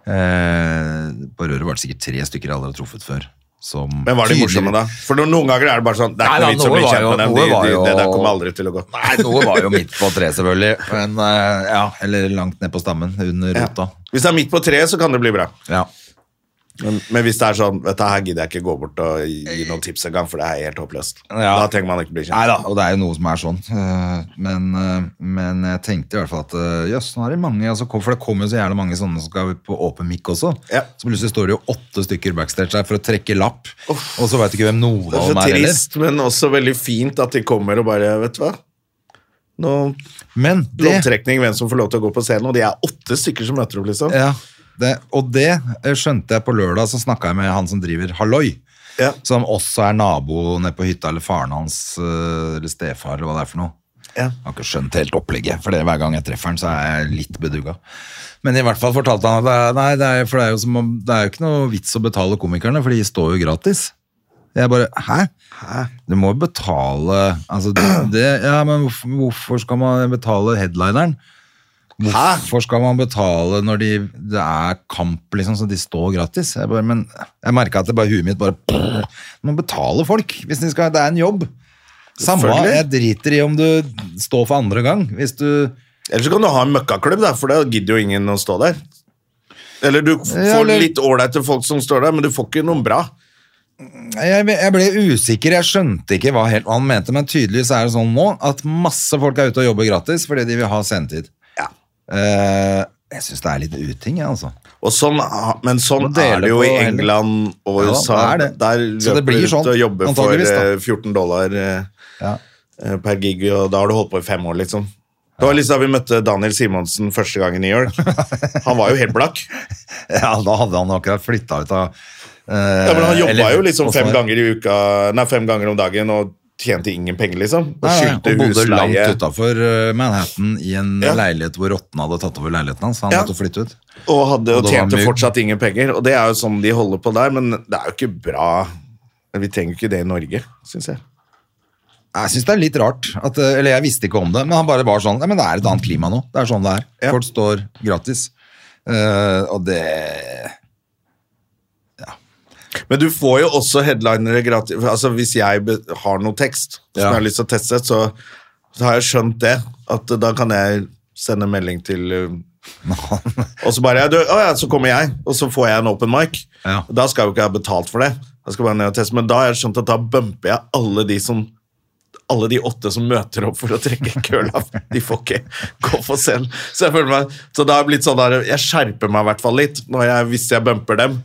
B: Eh, på Røret var det sikkert tre stykker jeg aldri har truffet før. som
A: Men var de morsomme, da? For noen ganger er det bare sånn Det er
B: Nei,
A: ikke
B: da,
A: noe vits å
B: noe
A: bli
B: var
A: kjent med
B: jo-
A: dem.
B: noe
A: De,
B: var
A: de,
B: jo-
A: det der kommer aldri til å gå.
B: Nei, noe var jo midt på treet, selvfølgelig. Men eh, ja, eller langt ned på stammen, under
A: Ja.
B: rota.
A: Hvis det er midt på treet, så kan det bli bra.
B: Ja.
A: Men, men hvis det er sånn Dette her gidder jeg ikke gå bort og gi noen tips engang, for det er helt håpløst.
B: Ja.
A: Da trenger man ikke bli
B: Nei
A: kjent.
B: da, og det er jo noe som er sånn. eh, Men, eh, men jeg tenkte i hvert fall at eh, jøss, nå er det mange. Altså, kom- for det kommer jo så jævlig mange sånne som skal på åpen mic også.
A: Ja.
B: Så plutselig står det jo åtte stykker backstage der for å trekke lapp, og så veit du ikke hvem noen av
A: Det
B: dem
A: er
B: er
A: så
B: heller.
A: trist, men også veldig fint at de kommer og bare Vet du hva? Nå
B: Men det
A: Loddtrekning, hvem som får lov til å gå på scenen, og de er åtte stykker som møter opp, liksom.
B: Ja, det, og det eh, skjønte jeg på lørdag, så snakka jeg med han som driver Halloi.
A: Ja.
B: Som også er nabo nede på hytta, eller faren hans, eh, eller stefar, eller hva det er for noe.
A: Ja.
B: Jeg har ikke skjønt helt opplegget, for det, hver gang jeg treffer han, så er jeg litt bedugga. Men i hvert fall fortalte han at det er, nei, det er, for det er, jo som, om- det er jo ikke noe vits å betale komikerne, for de står jo gratis. Jeg bare Hæ? Du må jo betale altså, det, det, Ja, men hvorfor, hvorfor skal man betale headlineren? Hvorfor skal man betale når de, det er kamp, liksom, så de står gratis? Jeg, bare, men, jeg merka at det bare huet mitt bare Du må betale folk hvis de skal Det er en jobb. Samme,
A: Selvfølgelig.
B: jeg driter i om du står for andre gang. Hvis du
A: Eller så kan du ha en møkkaklubb, da, for da gidder jo ingen å stå der. Eller du f-
B: Ja,
A: får
B: eller-
A: litt ålreite folk som står der, men du får ikke noen bra.
B: jeg, jeg ble usikker, jeg skjønte ikke hva helt hva han mente, men tydeligvis er det sånn nå at masse folk er ute og jobber gratis fordi de vil ha sendetid. Eh, jeg syns det er litt uting, jeg, altså.
A: Og sånn, ha- men sånn
B: Og dele
A: er det jo
B: på
A: i
B: hele-
A: England og
B: Ja,
A: USA.
B: det er det.
A: Der
B: Så det
A: løper
B: blir
A: du ut
B: sånn,
A: og jobber for
B: antageligvis, da.
A: eh, 14 dollar eh,
B: Ja.
A: eh, per gig, og da har du holdt på i fem år, liksom. Det var liksom da vi møtte Daniel Simonsen første gang i New York. Han var jo helt blakk.
B: Ja, da hadde han akkurat flytta ut av eh,
A: Ja, men han jobba jo liksom fem ganger i uka, nei, fem ganger om dagen og tjente ingen penger, liksom. Og skyldte
B: Og bodde
A: husleie.
B: langt utafor Manhattan i en
A: Ja.
B: leilighet hvor rottene hadde tatt over leiligheten hans. så Han
A: Ja.
B: måtte flytte ut.
A: Og, hadde,
B: Og
A: og
B: det var
A: tjente
B: mye-
A: fortsatt ingen penger. Og det er jo sånn de holder på der, men det er jo ikke bra. Vi trenger jo ikke det i Norge, syns jeg.
B: Jeg syns det er litt rart. At, eh, eller jeg visste ikke om det, men han bare var sånn. Ja, men det er et annet klima nå. Det er sånn det er.
A: Ja.
B: Folk står gratis. Eh, og det
A: Men du får jo også headlinere gratis. for Altså, hvis jeg be- har noe tekst som
B: Ja.
A: jeg har lyst til å teste, så, så har jeg skjønt det. At da kan jeg sende melding til uh, Og så bare du, å, ja, Så kommer jeg, og så får jeg en open mic.
B: Ja.
A: Da skal jeg jo ikke ha betalt for det. Jeg skal bare ned og teste. Men da har jeg skjønt at da bumper jeg alle de som alle de åtte som møter opp for å trekke kølapp, de får ikke gå for scenen. Så jeg føler meg, så det har blitt sånn der, jeg skjerper meg i hvert fall litt når jeg, hvis jeg bumper dem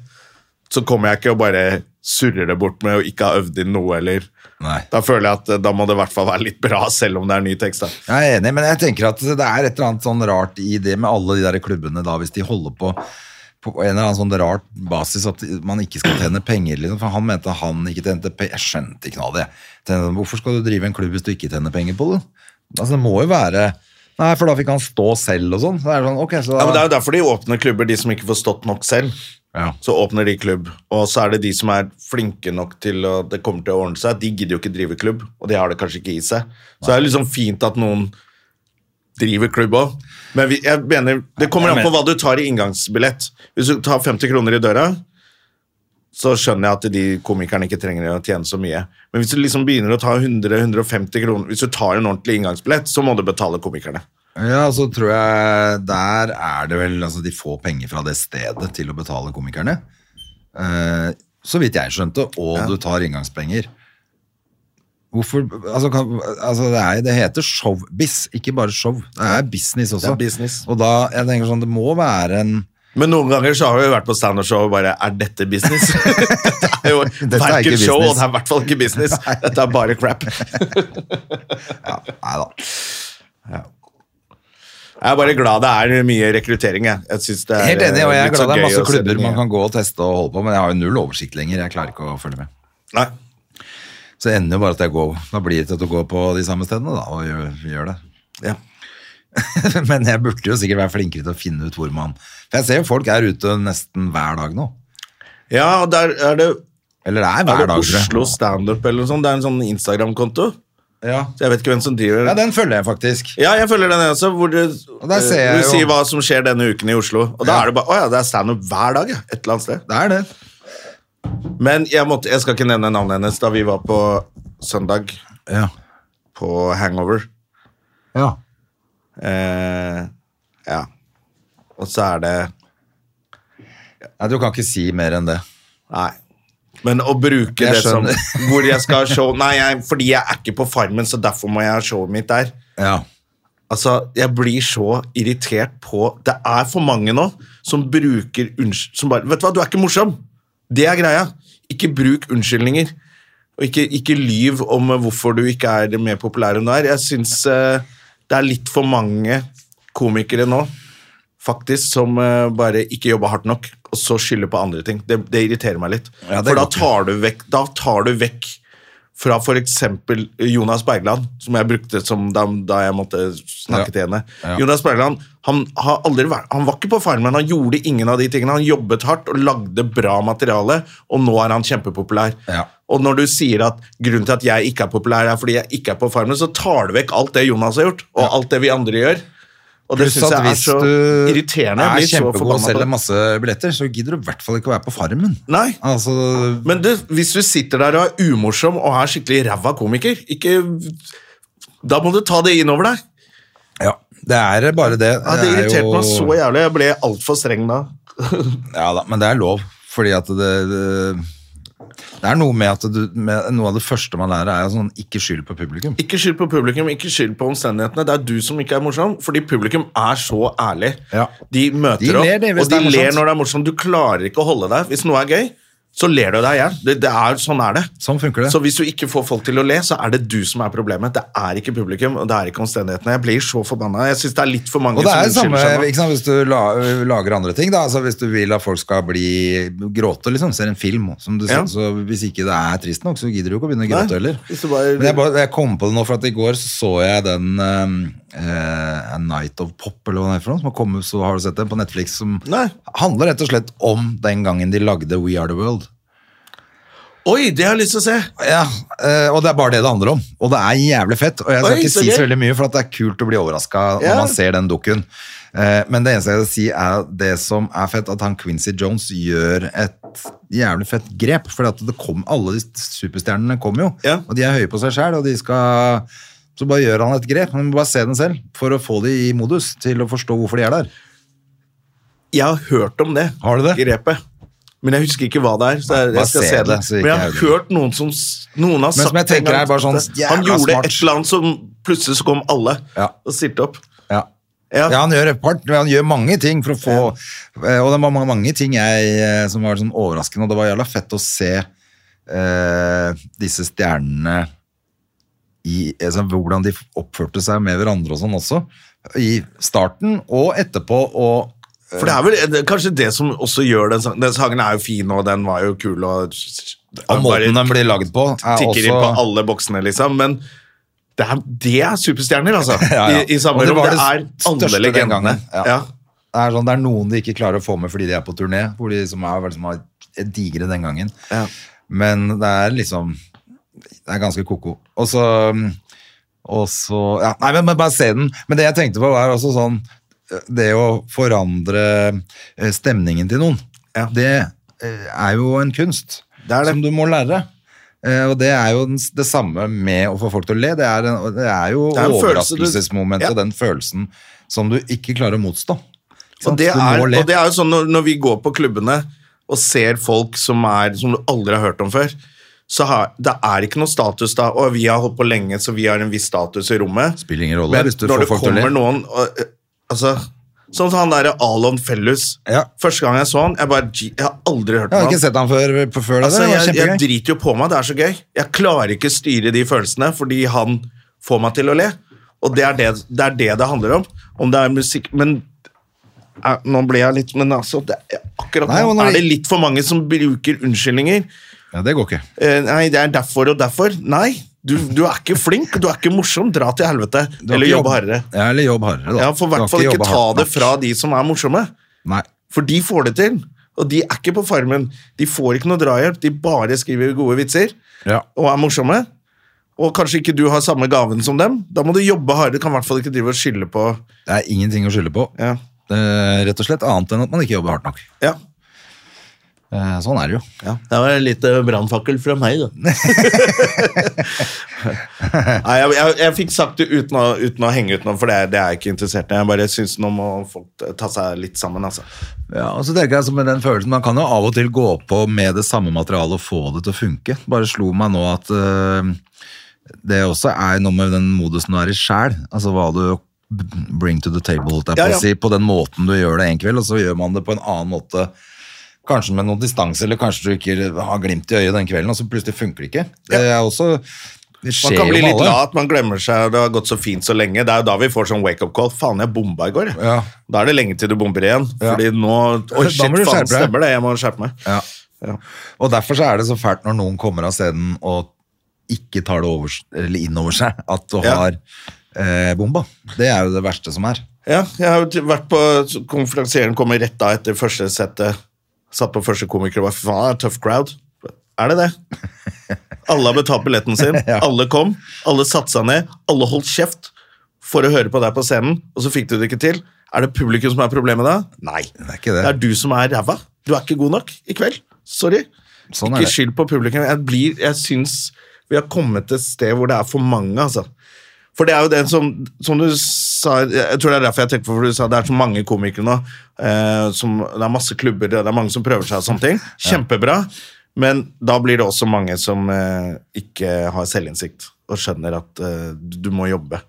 A: så kommer jeg ikke og bare surrer det bort med å ikke ha øvd inn noe, eller
B: Nei.
A: Da føler jeg at eh, da må det i hvert fall være litt bra, selv om det er ny tekst. da.
B: Jeg er enig, men jeg tenker at det er et eller annet sånn rart i det med alle de der klubbene da, hvis de holder på på en eller annen sånn rart basis at man ikke skal tjene penger, liksom. For han mente han ikke tjente penger. Jeg skjønte ikke noe av det. Jeg tenkte, Hvorfor skal du drive en klubb hvis du ikke tjener penger på det? Altså, det må jo være... Nei, for da fikk han stå selv og sånn. Så det er sånn, ok, så da...
A: Ja, men Det er jo derfor de åpner klubber, de som ikke får stått nok selv.
B: Ja.
A: Så åpner de klubb, og så er det de som er flinke nok til å det kommer til å ordne seg. De gidder jo ikke drive klubb, og de har det kanskje ikke i seg. Så det er liksom fint at noen driver klubb òg. Men vi, jeg mener, det kommer
B: Jeg
A: an på
B: mener-
A: hva du tar i inngangsbillett. Hvis du tar 50 kroner i døra, så skjønner jeg at de komikerne ikke trenger å tjene så mye. Men hvis du liksom begynner å ta 100-150 kroner, hvis du tar en ordentlig inngangsbillett, så må du betale komikerne.
B: Ja, så tror jeg der er det vel altså De får penger fra det stedet til å betale komikerne. Eh, så vidt jeg skjønte. Og du tar inngangspenger. Hvorfor Altså, kan, altså det, er, det heter showbiz, ikke bare show. Det er business også.
A: Det er business.
B: Og da, jeg tenker sånn, det må være en
A: Men noen ganger så har vi jo vært på standup-show og bare Er dette business? dette er jo
B: er ikke
A: verken show,
B: business.
A: og det er i hvert fall ikke business. Dette er bare crap.
B: Nei da.
A: Jeg er bare glad det er mye rekruttering, jeg. jeg synes det er, eh,
B: Helt enig, og jeg er
A: litt så
B: glad det er
A: gøy
B: masse
A: å se
B: klubber
A: det nye.
B: man kan gå og teste og holde på, men jeg har jo null oversikt lenger. Jeg klarer ikke å følge med.
A: Nei.
B: Så det ender jo bare at jeg går Da blir det til at du går på de samme stedene, da, og gjør, gjør det.
A: Ja.
B: Men jeg burde jo sikkert være flinkere til å finne ut hvor man For jeg ser jo folk er ute nesten hver dag nå.
A: ja, og der er det,
B: Eller det er
A: er
B: hver
A: det
B: dag,
A: Oslo Standup eller noe sånt. Det er en sånn Instagram-konto.
B: Ja.
A: Så jeg vet ikke hvem som driver
B: ja, den følger jeg faktisk.
A: Ja, jeg følger den jeg også, hvor du,
B: Og der ser jeg
A: du
B: jo-
A: sier hva som skjer denne uken i Oslo. Og da
B: Ja.
A: er det bare Å ja, det er standup hver dag, ja. Et eller annet sted.
B: Det er det.
A: Men jeg, måtte, jeg skal ikke nevne navnet hennes da vi var på søndag
B: Ja.
A: på Hangover.
B: ja.
A: Eh, ja. Og så er det
B: Nei, du kan ikke si mer enn det.
A: Nei. Men å bruke
B: Jeg
A: det som
B: skjønner.
A: Hvor jeg skal ha show Nei, jeg, fordi jeg er ikke på Farmen, så derfor må jeg ha showet mitt der.
B: Ja.
A: Altså, Jeg blir så irritert på Det er for mange nå som bruker unnskyld... Som bare Vet du hva, du er ikke morsom! Det er greia. Ikke bruk unnskyldninger. Og ikke, ikke lyv om eh, hvorfor du ikke er mer populær enn du er. Jeg syns eh, det er litt for mange komikere nå faktisk som eh, bare ikke jobber hardt nok, og så skylder på andre ting. Det, det irriterer meg litt.
B: Ja, det er
A: for da
B: godt.
A: tar du vekk, da tar du vekk fra f.eks. Jonas Bergland, som jeg brukte som da, da jeg måtte snakke
B: Ja.
A: til henne.
B: Ja.
A: Jonas Bergland han, har aldri vært, han var ikke på Farmen, han gjorde ingen av de tingene. Han jobbet hardt og lagde bra materiale, og nå er han kjempepopulær.
B: Ja.
A: Og når du sier at grunnen til at jeg ikke er populær, er fordi jeg ikke er på Farmen, så tar du vekk alt det Jonas har gjort, og alt det vi andre gjør. Og det
B: Pluss
A: syns
B: at
A: jeg er
B: hvis
A: så
B: du
A: irriterende.
B: er
A: Jeg blir så
B: kjempegod og
A: forbanna på
B: selger
A: det.
B: masse billetter, så gidder du i hvert fall ikke å være på Farmen.
A: Nei.
B: Altså,
A: Men du, hvis du sitter der og er umorsom og er skikkelig ræva komiker, ikke Da må du ta det innover deg.
B: ja, det er bare det.
A: Ja, det
B: er
A: irriterte
B: jo-
A: meg så jævlig. Jeg ble altfor streng da.
B: Ja da, men det er lov. Fordi at det, det, det er noe med at du med, Noe av det første man lærer, er jo sånn ikke skyld på publikum.
A: Ikke skyld på publikum, ikke skyld på omstendighetene. Det er du som ikke er morsom, fordi publikum er så ærlig.
B: Ja.
A: De møter
B: De
A: opp,
B: ler det hvis
A: og de
B: det er morsomt.
A: ler når det er morsomt. Du klarer ikke å holde deg. Hvis noe er gøy, så ler du deg i hjel. Det, det er, sånn er det.
B: Sånn funker det.
A: Så hvis du ikke får folk til å le, så er det du som er problemet. Det er ikke publikum, og det er ikke omstendighetene. Jeg blir så forbanna. Jeg syns det er litt for mange
B: Og det er det
A: som
B: samme
A: unnskylder seg nå.
B: ikke sant, hvis du la, lager andre ting. Da. Altså, hvis du vil at folk skal bli gråte, liksom, ser en film som du ser,
A: Ja.
B: så Hvis ikke det er trist nok, så gidder du ikke å begynne å gråte
A: Nei,
B: heller.
A: hvis du bare-
B: Men jeg, bare, jeg kom på det nå, for at i går så, så jeg den eh, eh, A Night of Pop, eller hva det er for noe, som har kommet, så har du sett den på Netflix, som
A: Nei.
B: handler rett og slett om den gangen de lagde We Are The World.
A: Oi, det har jeg lyst til å se!
B: Ja, eh, og det er bare det det handler om. Og det er jævlig fett. Og jeg skal
A: Oi,
B: ikke
A: så
B: si så
A: gøy.
B: veldig mye, for at det er kult å bli overraska
A: Ja.
B: når man ser den dukken. Eh, Men det eneste jeg vil si, er at det som er fett, at han Quincy Jones gjør et jævlig fett grep. For at det kom, alle de superstjernene kommer jo,
A: Ja.
B: og de er høye på seg sjæl, og de skal Så bare gjør han et grep. Man må bare se den selv for å få de i modus til å forstå hvorfor de er der.
A: Jeg har hørt om det,
B: Har du det?
A: grepet. Men jeg husker ikke hva det er. så jeg,
B: Bare
A: jeg skal
B: se
A: se
B: det,
A: det.
B: så ikke
A: Men jeg har
B: jeg-
A: hørt noen som s- Noen har
B: som
A: sagt
B: jeg tenker
A: en gang
B: er bare sånn
A: at Han
B: jævla
A: gjorde
B: smart.
A: et eller annet som plutselig så kom alle
B: Ja.
A: og stilte opp.
B: Ja.
A: Ja.
B: Ja, han gjør et part, men han gjør mange ting for å få eh, Og det var ma- mange ting jeg, eh, som var sånn overraskende, og det var jævla fett å se eh, disse stjernene i altså, Hvordan de oppførte seg med hverandre og sånn også. I starten og etterpå og
A: For det er vel eh, det er kanskje det som også gjør den sangen. Den sangen er jo fin, og den var jo kul, og,
B: og måten
A: bare
B: den blir lagd på. Er
A: tikker inn på
B: også,
A: alle boksene, liksom. Men det er, det er superstjerner, altså.
B: Ja, ja.
A: I, I samme
B: Og det
A: rom.
B: var
A: Det,
B: det
A: er
B: største
A: alle
B: den
A: legendene.
B: gangen, ja.
A: Ja.
B: det, er sånn, det er noen de ikke klarer å få med fordi de er på turné, hvor de som er, som er digre den gangen.
A: Ja.
B: Men det er liksom Det er ganske koko. Og så Og så ja, Nei, men, men bare se den. Men det jeg tenkte på, var også sånn Det å forandre eh, stemningen til noen,
A: Ja.
B: det eh, er jo en kunst
A: Det er det.
B: som du må lære. Eh, Og det er jo den s- det samme med å få folk til å le. Det er, en, det er jo
A: Det er en følelse du-
B: overraskelsesmomentet,
A: Ja.
B: den følelsen som du ikke klarer å motstå. Ikke sant?
A: Og det,
B: Du må
A: er,
B: le.
A: og det er jo sånn når, når vi går på klubbene og ser folk som, er, som du aldri har hørt om før, så har, det er ikke noe status da. Og vi har holdt på lenge, så vi har en viss status i rommet.
B: Spiller ingen rolle
A: Men
B: hvis du får
A: når det
B: folk til å le.
A: kommer noen og, eh, altså, Sånn som han derre Alon Fellus.
B: Ja.
A: Første gang jeg så han, jeg bare "Gee, Jeg har aldri
B: Jeg
A: hørt om
B: har
A: han.
B: ikke sett han før, på- før det.
A: Altså,
B: det var
A: jeg, jeg
B: kjempegøy.
A: driter jo på meg, det er så gøy. Jeg klarer ikke styre de følelsene fordi han får meg til å le. Og det er det det, er det, det handler om. Om det er musikk Men eh, nå ble jeg litt Men altså, det, er- akkurat
B: Nei, og
A: nå
B: når
A: er det
B: de-
A: litt for mange som bruker unnskyldninger.
B: Ja, det går ikke.
A: Eh, nei, det er derfor og derfor. Nei, du, du er ikke flink, du er ikke morsom. Dra til helvete.
B: Du har
A: Eller
B: ikke
A: jobb hardere.
B: Ja, eller jobb hardere, da.
A: Ja, for
B: Du
A: i
B: har
A: hvert fall ikke
B: jobbet
A: ta
B: hardt
A: det
B: nok.
A: fra de som er morsomme.
B: Nei.
A: For de får det til. Og de er ikke på Farmen. De får ikke noe drahjelp. De bare skriver gode vitser
B: Ja.
A: og er morsomme. Og kanskje ikke du har samme gaven som dem. Da må du jobbe hardere. Du kan i hvert fall ikke drive og skylde på
B: Det er ingenting å skylde på.
A: Ja.
B: Eh, rett og slett annet enn at man ikke jobber hardt nok.
A: ja.
B: Eh, Sånn er det eh, jo.
A: Det var en liten brannfakkel fra meg, da. Nei, jeg, jeg, jeg fikk sagt det uten å, uten å henge ut noe, for det, er- det er jeg ikke interessert i. Jeg bare syns nå må folk ta seg litt sammen, altså.
B: Ja, og så tenker jeg altså med den følelsen Man kan jo av og til gå på med det samme materialet og få det til å funke. Bare slo meg nå at øh, det også er noe med den modusen du er i sjæl. Altså hva du bring to the table, holdt jeg
A: Ja,
B: på å
A: ja.
B: si. På den måten du gjør det en kveld, og så gjør man det på en annen måte. Kanskje med noen distanse, eller kanskje du ikke har glimt i øyet den kvelden, og så plutselig funker det ikke. Det er også det
A: Man
B: skjer
A: kan bli
B: jo med
A: litt
B: alle.
A: lat, man glemmer seg, og det har gått så fint så lenge. Det er jo da vi får sånn wake-up call. Faen, jeg bomba i går. jeg.
B: Ja.
A: Da er det lenge til du bomber igjen.
B: Ja.
A: Fordi nå Oi,
B: Da
A: shit,
B: må du skjerpe
A: faen,
B: deg.
A: stemmer det. Jeg må skjerpe meg.
B: Ja.
A: Ja.
B: Og derfor så er det så fælt når noen kommer av scenen og ikke tar det over, eller inn over seg at du
A: Ja.
B: har eh, bomba. Det er jo det verste som er.
A: Ja, jeg har jo vært på Konferansieren kommer rett da etter første settet. Satt på første komiker og bare faen, det er tøff crowd. Er det det? Alle har betalt billetten sin. Alle kom. Alle satte seg ned. Alle holdt kjeft for å høre på deg på scenen, og så fikk du det ikke til. Er det publikum som er problemet da? Nei.
B: Det er ikke
A: Det
B: det.
A: er du som er ræva. Du er ikke god nok i kveld. Sorry.
B: Sånn er
A: ikke
B: det.
A: skyld på publikum. Jeg, blir, jeg syns vi har kommet til et sted hvor det er for mange, altså. For det er jo det som, som du sa Jeg tror det er derfor jeg tenker på for du sa det er så mange komikere nå. Eh, som, det er masse klubber, det er mange som prøver seg og sånne ting. Kjempebra. Men da blir det også mange som eh, ikke har selvinnsikt og skjønner at eh, du må jobbe.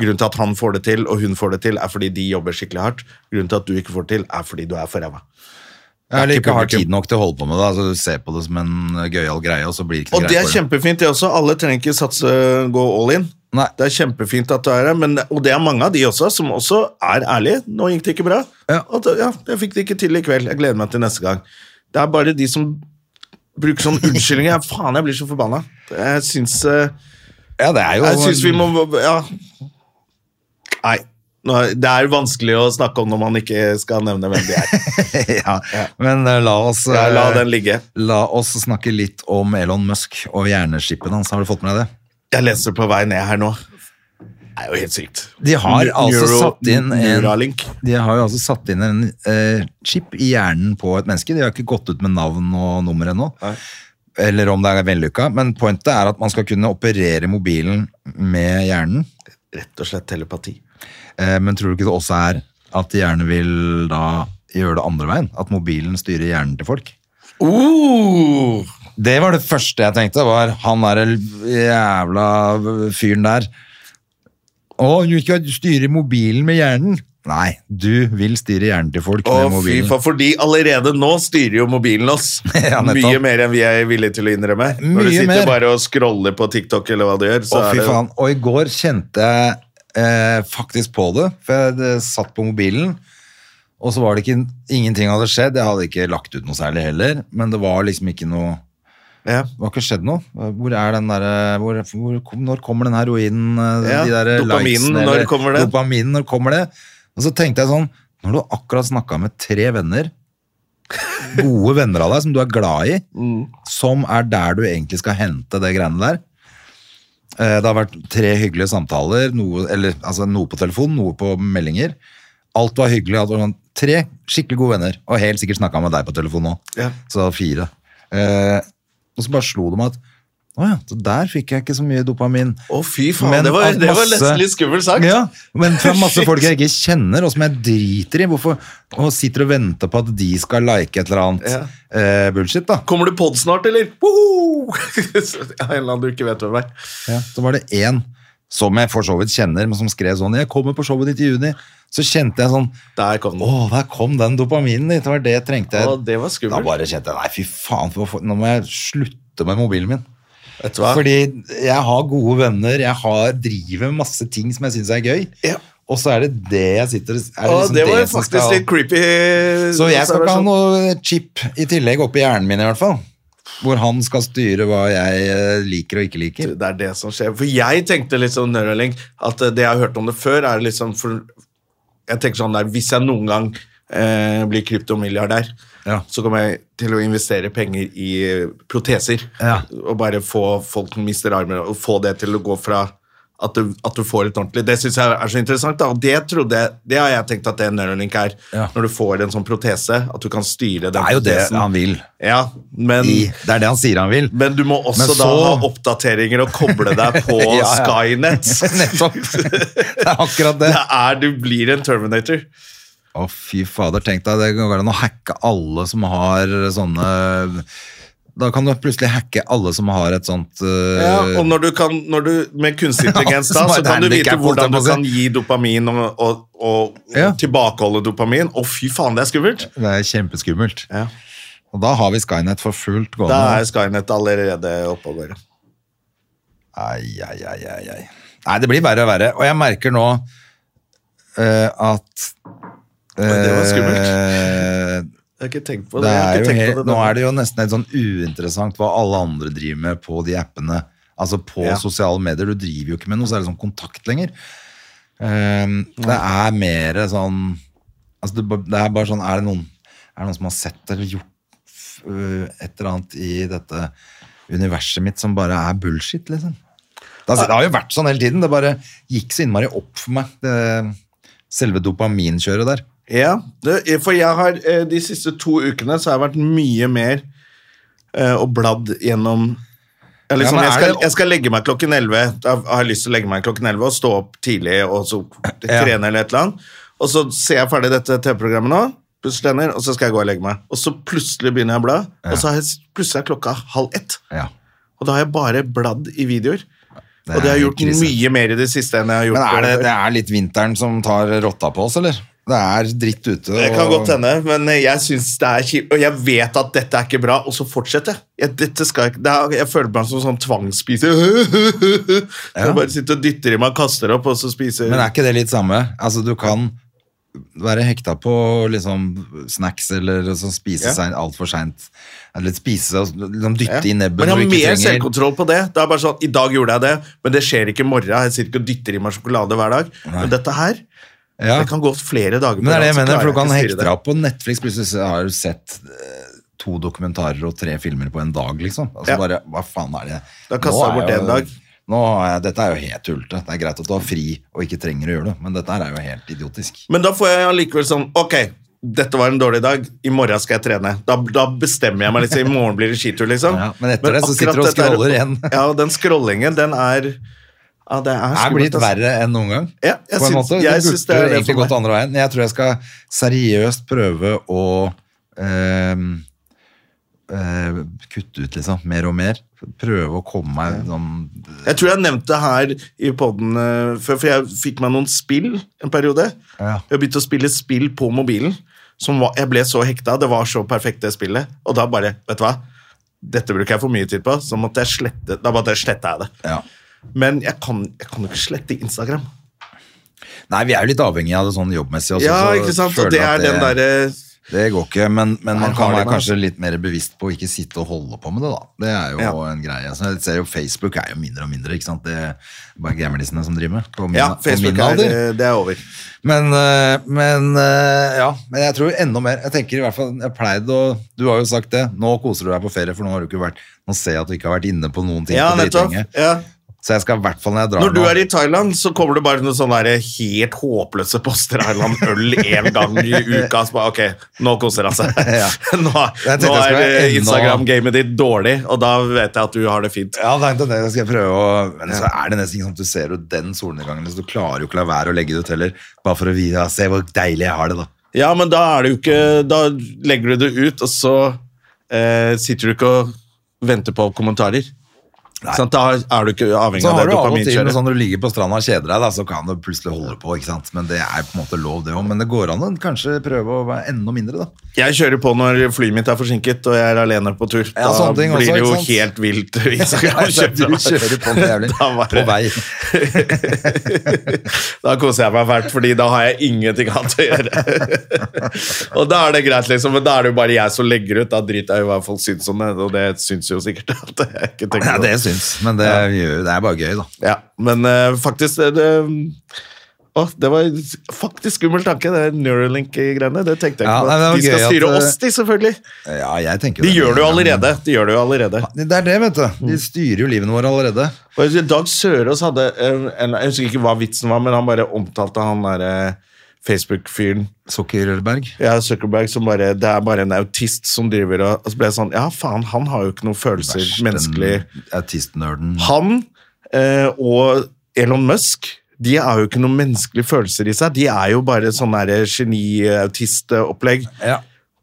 A: Grunnen til at han får det til, og hun får det til, er fordi de jobber skikkelig hardt. Grunnen til at du ikke får det til, er fordi du er for ræva.
B: Jeg
A: det er
B: eller
A: ikke
B: ikke har
A: publikum.
B: tid nok til å holde på med det. Altså, du ser på det som en gøyal greie, og så blir det ikke
A: Og det
B: greit
A: er
B: for deg.
A: kjempefint, det også. Alle trenger ikke satse, gå all in.
B: Nei.
A: Det er kjempefint at du er her, men, og det er mange av de også som også er ærlige. Nå gikk det ikke bra.
B: Ja.
A: Og da, ja, jeg fikk det ikke til i kveld. Jeg gleder meg til neste gang. Det er bare de som bruker sånne unnskyldninger. Jeg- Faen, jeg blir så forbanna. Jeg syns, eh,
B: Ja, det er jo
A: jeg syns vi må Ja. Nei. nå er- Det er vanskelig å snakke om når man ikke skal nevne hvem de er.
B: ja. Men eh, la oss
A: Ja, la
B: eh,
A: den ligge.
B: la oss snakke litt om Elon Musk og hjerneskippet hans. Har du fått med deg det?
A: Jeg leser på vei ned her nå. Det er jo helt sykt.
B: De har
A: Neu-
B: altså
A: Neuro-
B: satt inn en
A: Neuralink.
B: De har jo altså satt inn en eh, chip i hjernen på et menneske. De har ikke gått ut med navn og nummer ennå.
A: Nei.
B: Eller om det er vellykka. Men pointet er at man skal kunne operere mobilen med hjernen.
A: Rett og slett telepati.
B: Eh, men tror du ikke det også er at hjernen vil da gjøre det andre veien? At mobilen styrer hjernen til folk?
A: Oh!
B: Det var det første jeg tenkte, var han der jævla fyren der. Å, du skal styre mobilen med hjernen. Nei, du vil styre hjernen til folk
A: Å,
B: med
A: fy
B: mobilen.
A: faen, fordi allerede nå styrer jo mobilen oss.
B: Ja, nettopp.
A: Mye mer enn vi er villige til å innrømme. Når du
B: Mye
A: sitter
B: mer.
A: bare og scroller på TikTok eller hva du gjør, så
B: Å,
A: er
B: fy
A: det
B: faen. Og i går kjente jeg eh, faktisk på det, for jeg eh, satt på mobilen, og så var det ikke, ingenting hadde skjedd. Jeg hadde ikke lagt ut noe særlig heller, men det var liksom ikke noe
A: ja.
B: det var ikke skjedd noe. Hvor er den der, eh, hvor, hvor, kom- når kommer den heroinen? eh,
A: Ja,
B: de der
A: dopaminen,
B: likesene,
A: når
B: eller-
A: kommer det?
B: Dopaminen, når kommer det? Og så tenkte jeg sånn, når du akkurat snakket med tre venner, gode venner av deg som du er glad i,
A: Mm.
B: som er der du egentlig skal hente det greiene der. Eh, Det har vært tre hyggelige samtaler, noe, eller, altså, noe på telefon, noe på meldinger. Alt var hyggelig. alt var sånn, Tre skikkelig gode venner, og helt sikkert snakket med deg på telefon nå.
A: Ja.
B: Så det var fire. Eh, og så bare slo det meg at å ja, så der fikk jeg ikke så mye dopamin.
A: Å, fy faen,
B: Men
A: det var,
B: at
A: det var
B: masse-
A: nesten litt skummelt sagt.
B: Ja, men fra masse
A: Shit.
B: folk jeg ikke kjenner, og som jeg driter i. Hvorfor og sitter og venter på at de skal like et eller annet
A: Ja.
B: eh, bullshit, da.
A: Kommer du pod snart, eller? Woho! Så- ja, en eller annen du ikke vet hvem er.
B: Ja, så var det én som jeg for så vidt kjenner, men som skrev sånn 'Jeg kommer på showet ditt i juni'. Så kjente jeg sånn
A: Der kom den.
B: Å, der kom den dopaminen ditt. Det var det jeg trengte.
A: Å, det var skummelt.
B: Da bare kjente jeg Nei, fy faen, for, for, nå må jeg slutte med mobilen min.
A: Vet du hva?
B: Fordi jeg har gode venner, jeg har, driver med masse ting som jeg syns er gøy.
A: Ja.
B: Og så er det det jeg sitter er
A: Å,
B: liksom
A: det var
B: som
A: faktisk
B: skal-
A: litt sånn. creepy.
B: Så jeg skal ikke ha
A: observasjon.
B: noe chip i tillegg oppi hjernen min, i hvert fall. Hvor han skal styre hva jeg eh, liker og ikke liker.
A: Det er det som skjer. For jeg tenkte litt sånn Neuralink, at eh, det jeg har hørt om det før, er liksom for Jeg tenker sånn der, hvis jeg noen gang eh, blir kryptomilliardær,
B: Ja.
A: så kommer jeg til å investere penger i eh, proteser.
B: Ja.
A: Og bare få folk som mister armer, og få det til å gå fra At du, at du får litt ordentlig. Det syns jeg er så interessant. Da. Og det, trodde jeg, det har jeg tenkt at det neuralink er.
B: Ja.
A: Når du får en sånn protese, at du kan styre den
B: Det er jo det
A: protesen.
B: han vil.
A: Ja, men,
B: I, det er det han sier han vil.
A: men du må også
B: Men så-
A: da ha oppdateringer og koble deg på
B: Ja, ja.
A: Skynet.
B: Nettopp. Det er akkurat det.
A: Det er, du blir en Terminator.
B: Å, fy fader. Tenk deg, det går an å hacke alle som har sånne Da kan du plutselig hacke alle som har et sånt eh,
A: Ja, og når du kan, når du, med kunstig intelligens da,
B: som
A: så
B: et
A: kan du vite
B: handicap,
A: hvordan
B: holdt jeg på
A: du
B: å si.
A: kan gi dopamin og, og, og
B: Ja.
A: tilbakeholde dopamin. Å, fy faen, det er skummelt!
B: Det er kjempeskummelt.
A: Ja.
B: Og da har vi Skynet for fullt gående.
A: Da er Skynet allerede oppe og går.
B: Ai, ai, ai, ai, ai. Nei, det blir verre og verre. Og jeg merker nå eh, at
A: det var skummelt.
B: eh,
A: Jeg har ikke tenkt på det.
B: det
A: jeg har
B: er
A: ikke
B: jo
A: tenkt
B: helt,
A: på
B: nå er det jo nesten helt sånn uinteressant hva alle andre driver med på de appene. Altså på
A: Ja.
B: sosiale medier. Du driver jo ikke med noe særlig sånn kontakt lenger. Ehm, det er mer sånn altså det, ba- det er bare sånn er det, noen, er det noen som har sett eller gjort f- øh, et eller annet i dette universet mitt som bare er bullshit, liksom? Det har, det har jo vært sånn hele tiden. Det bare gikk så innmari opp for meg, det, selve dopaminkjøret der.
A: Ja, det, for jeg har eh, de siste to ukene så har jeg vært mye mer eh, og bladd gjennom jeg,
B: Ja,
A: liksom,
B: men
A: jeg,
B: er
A: skal,
B: det-
A: jeg skal legge meg klokken 11. Da har jeg lyst til å legge meg klokken 11 og stå opp tidlig og så
B: Ja.
A: trene eller et eller annet. Og så ser jeg ferdig dette TV-programmet nå, plutselig tenner, og så skal jeg gå og legge meg. Og så plutselig begynner jeg å bla, og så har jeg, s- plutselig er klokka halv ett.
B: Ja.
A: Og da har jeg bare bladd i videoer.
B: Det
A: og det har
B: er
A: jeg gjort
B: krise.
A: mye mer i det siste enn jeg har gjort.
B: Men er det,
A: før.
B: det er litt vinteren som tar rotta på oss, eller? Det er dritt ute.
A: Det kan
B: og-
A: godt hende, men jeg synes det er kjipt. Og jeg vet at dette er ikke bra, og så fortsetter jeg. jeg. Dette skal jeg, ikke- det er, jeg føler meg som sånn tvangsspiser. Jeg bare sitter og dytter i meg og kaster opp, og så spiser
B: Men er ikke det litt samme? Altså, du kan være hekta på liksom snacks eller sånn spise
A: Ja.
B: seg altfor seint. Eller spise og liksom dytte i
A: Ja.
B: nebbet
A: Men jeg
B: når
A: har
B: du
A: mer
B: ikke trenger.
A: selvkontroll på det. Det er bare sånn, I dag gjorde jeg det, men det skjer ikke i morgen. Jeg sitter ikke og dytter i meg sjokolade hver dag. Men dette her,
B: Ja.
A: det kan gå flere dager på
B: Men det er det
A: rad,
B: jeg
A: så
B: mener,
A: klarer
B: for du kan
A: ikke å styre
B: hekte
A: det.
B: deg opp på Netflix. Plutselig så har du sett eh, to dokumentarer og tre filmer på en dag, liksom. Altså
A: Ja.
B: bare, hva faen er det?
A: Da kastet
B: Nå
A: jeg bort
B: er
A: en dag.
B: Nå er jeg, dette er jo helt tullete. Det er greit at du har fri og ikke trenger å gjøre det, men dette her er jo helt idiotisk.
A: Men da får jeg allikevel sånn Ok, dette var en dårlig dag. I morgen skal jeg trene. Da, da bestemmer jeg meg. liksom, I morgen blir det skitur, liksom.
B: Ja, men etter det så
A: akkurat
B: sitter du og
A: dette er-
B: scroller igjen.
A: Ja, og den scrollingen, den er Ja, det er
B: Det er
A: skummelt.
B: blitt
A: altså.
B: verre enn noen gang.
A: Ja, jeg
B: på en
A: syns-
B: måte.
A: jeg
B: det
A: syns det er
B: burde
A: det
B: egentlig
A: for
B: gått andre veien. Jeg tror jeg skal seriøst prøve å ehm, eh, kutte ut, liksom. Mer og mer. Prøve å komme meg sånn
A: Jeg tror jeg nevnte det her i poden før, for jeg fikk meg noen spill en periode.
B: Ja.
A: Jeg begynte å spille spill på mobilen. Som var, jeg ble så hekta. Det var så perfekt, det spillet. Og da bare Vet du hva? Dette bruker jeg for mye tid på, så måtte jeg slette, da måtte jeg slette jeg det.
B: Ja.
A: Men jeg kan jeg kan jo ikke slette Instagram.
B: Nei, vi er jo litt avhengig av det sånn jobbmessig også.
A: ja,
B: så
A: ikke sant? Og
B: føler
A: det
B: jeg
A: er
B: at
A: den derre
B: Det går ikke, men, men
A: Der
B: man kan
A: har de
B: være
A: meg,
B: kanskje litt mer bevisst på å ikke sitte og holde på med det, da. Det er jo
A: Ja.
B: en greie. Så jeg ser jo Facebook er jo mindre og mindre, ikke sant. Det er bare gamlisene som driver med. På min,
A: Ja,
B: på
A: Facebook
B: min
A: er, eh,
B: alder.
A: det er over.
B: Men, øh, men øh, ja, men jeg tror enda mer Jeg tenker i hvert fall, jeg pleide å Du har jo sagt det, nå koser du deg på ferie, for nå har du ikke vært Nå ser jeg at du ikke har vært inne på noen ting
A: Ja,
B: på
A: nettopp.
B: dritlenge.
A: Ja.
B: Så jeg skal i hvert fall når jeg drar
A: Når du
B: nå-
A: er i Thailand, så kommer det bare noen sånne der helt håpløse poster her om øl én gang i uka. Så bare, ok, nå koser han seg.
B: Ja.
A: Nå,
B: Jeg tenkte
A: nå
B: jeg
A: er
B: skulle være
A: eh,
B: enda-
A: Instagram-gamet ditt dårlig, og da vet jeg at du har det fint.
B: Ja, det er det skal jeg prøve å Men så er det nesten ikke sånn at du ser jo den solnedgangen, så du klarer jo ikke la være å legge det ut heller, bare for å vise, ja, se hvor deilig jeg har det, da.
A: Ja, men da er det jo ikke Da legger du det ut, og så eh, sitter du ikke og venter på kommentarer. Sant? Da er du ikke avhengig
B: Så
A: av
B: har
A: det
B: du av og til
A: dopaminkjøret.
B: sånn når du ligger på stranda og kjeder deg, da, så kan du plutselig holde på, ikke sant. Men det er på en måte lov, det òg. Men det går an å kanskje prøve å være enda mindre, da.
A: Jeg kjører på når flyet mitt er forsinket og jeg er alene på tur.
B: Ja,
A: da
B: sånne ting
A: blir
B: også,
A: det jo
B: ikke sant?
A: helt vilt. hvis jeg
B: Ja,
A: kjører
B: du kjører på noe jævlig.
A: Da var
B: På vei.
A: da koser jeg meg fælt, fordi da har jeg ingenting annet å gjøre. og da er det greit, liksom, men da er det jo bare jeg som legger ut. Da driter jeg i hva folk syns om det, og det syns jo sikkert at jeg ikke tenker
B: Ja,
A: på
B: det syns, men det, gjør, det er bare gøy, da.
A: Ja, men eh, faktisk det, det, eh, Åh, det var faktisk skummel tanke, det Neuralink-greiene. Det tenkte jeg
B: Ja,
A: ikke på.
B: nei, det var
A: de skal
B: gøy at,
A: styre
B: eh,
A: oss, de, selvfølgelig.
B: Ja, jeg tenker
A: De gjør det jo allerede. De gjør det jo allerede.
B: Det er det, vet du. De styrer jo livene våre allerede.
A: Og jeg husker Dag Sørås hadde en, en Jeg husker ikke hva vitsen var, men han bare omtalte han derre Facebook-fyren
B: Sukkerberg.
A: ja, Zuckerberg som bare Det er bare en autist som driver og Og så ble jeg sånn Ja, faen, han har jo ikke noen følelser menneskelig
B: Autistnerden.
A: Han eh, og Elon Musk de har jo ikke noen menneskelige følelser i seg. De er jo bare sånn der geni-autist-opplegg.
B: Ja.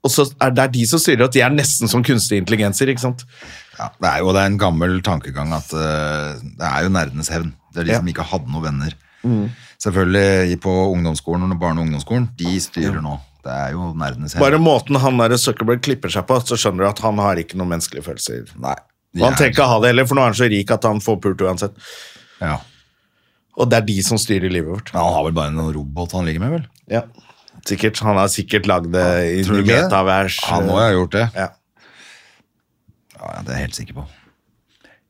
A: Og så er det er de som styrer at de er nesten som kunstige intelligenser, ikke sant?
B: Ja, det er jo det er en gammel tankegang at eh, det er jo nerdenes hevn. Det er de
A: Ja. Mm.
B: som ikke hadde noen venner. Selvfølgelig i- på ungdomsskolen og barne- og ungdomsskolen, de styrer nå. Det er jo nerdenes hevn.
A: Bare måten han der Zuckerberg klipper seg på, så skjønner du at han har ikke noen menneskelige følelser.
B: Nei. de
A: Og han
B: er-
A: trenger ikke å ha det heller, for nå er han så rik at han får pult uansett.
B: Ja.
A: Og det er de som styrer livet vårt.
B: Men han har vel bare en robot han ligger med, vel?
A: Ja. Sikkert, han har sikkert lagd det i
B: Tror du ikke det?
A: metavers.
B: Han må jo ha gjort det.
A: Ja.
B: Ja, ja, det er jeg helt sikker på.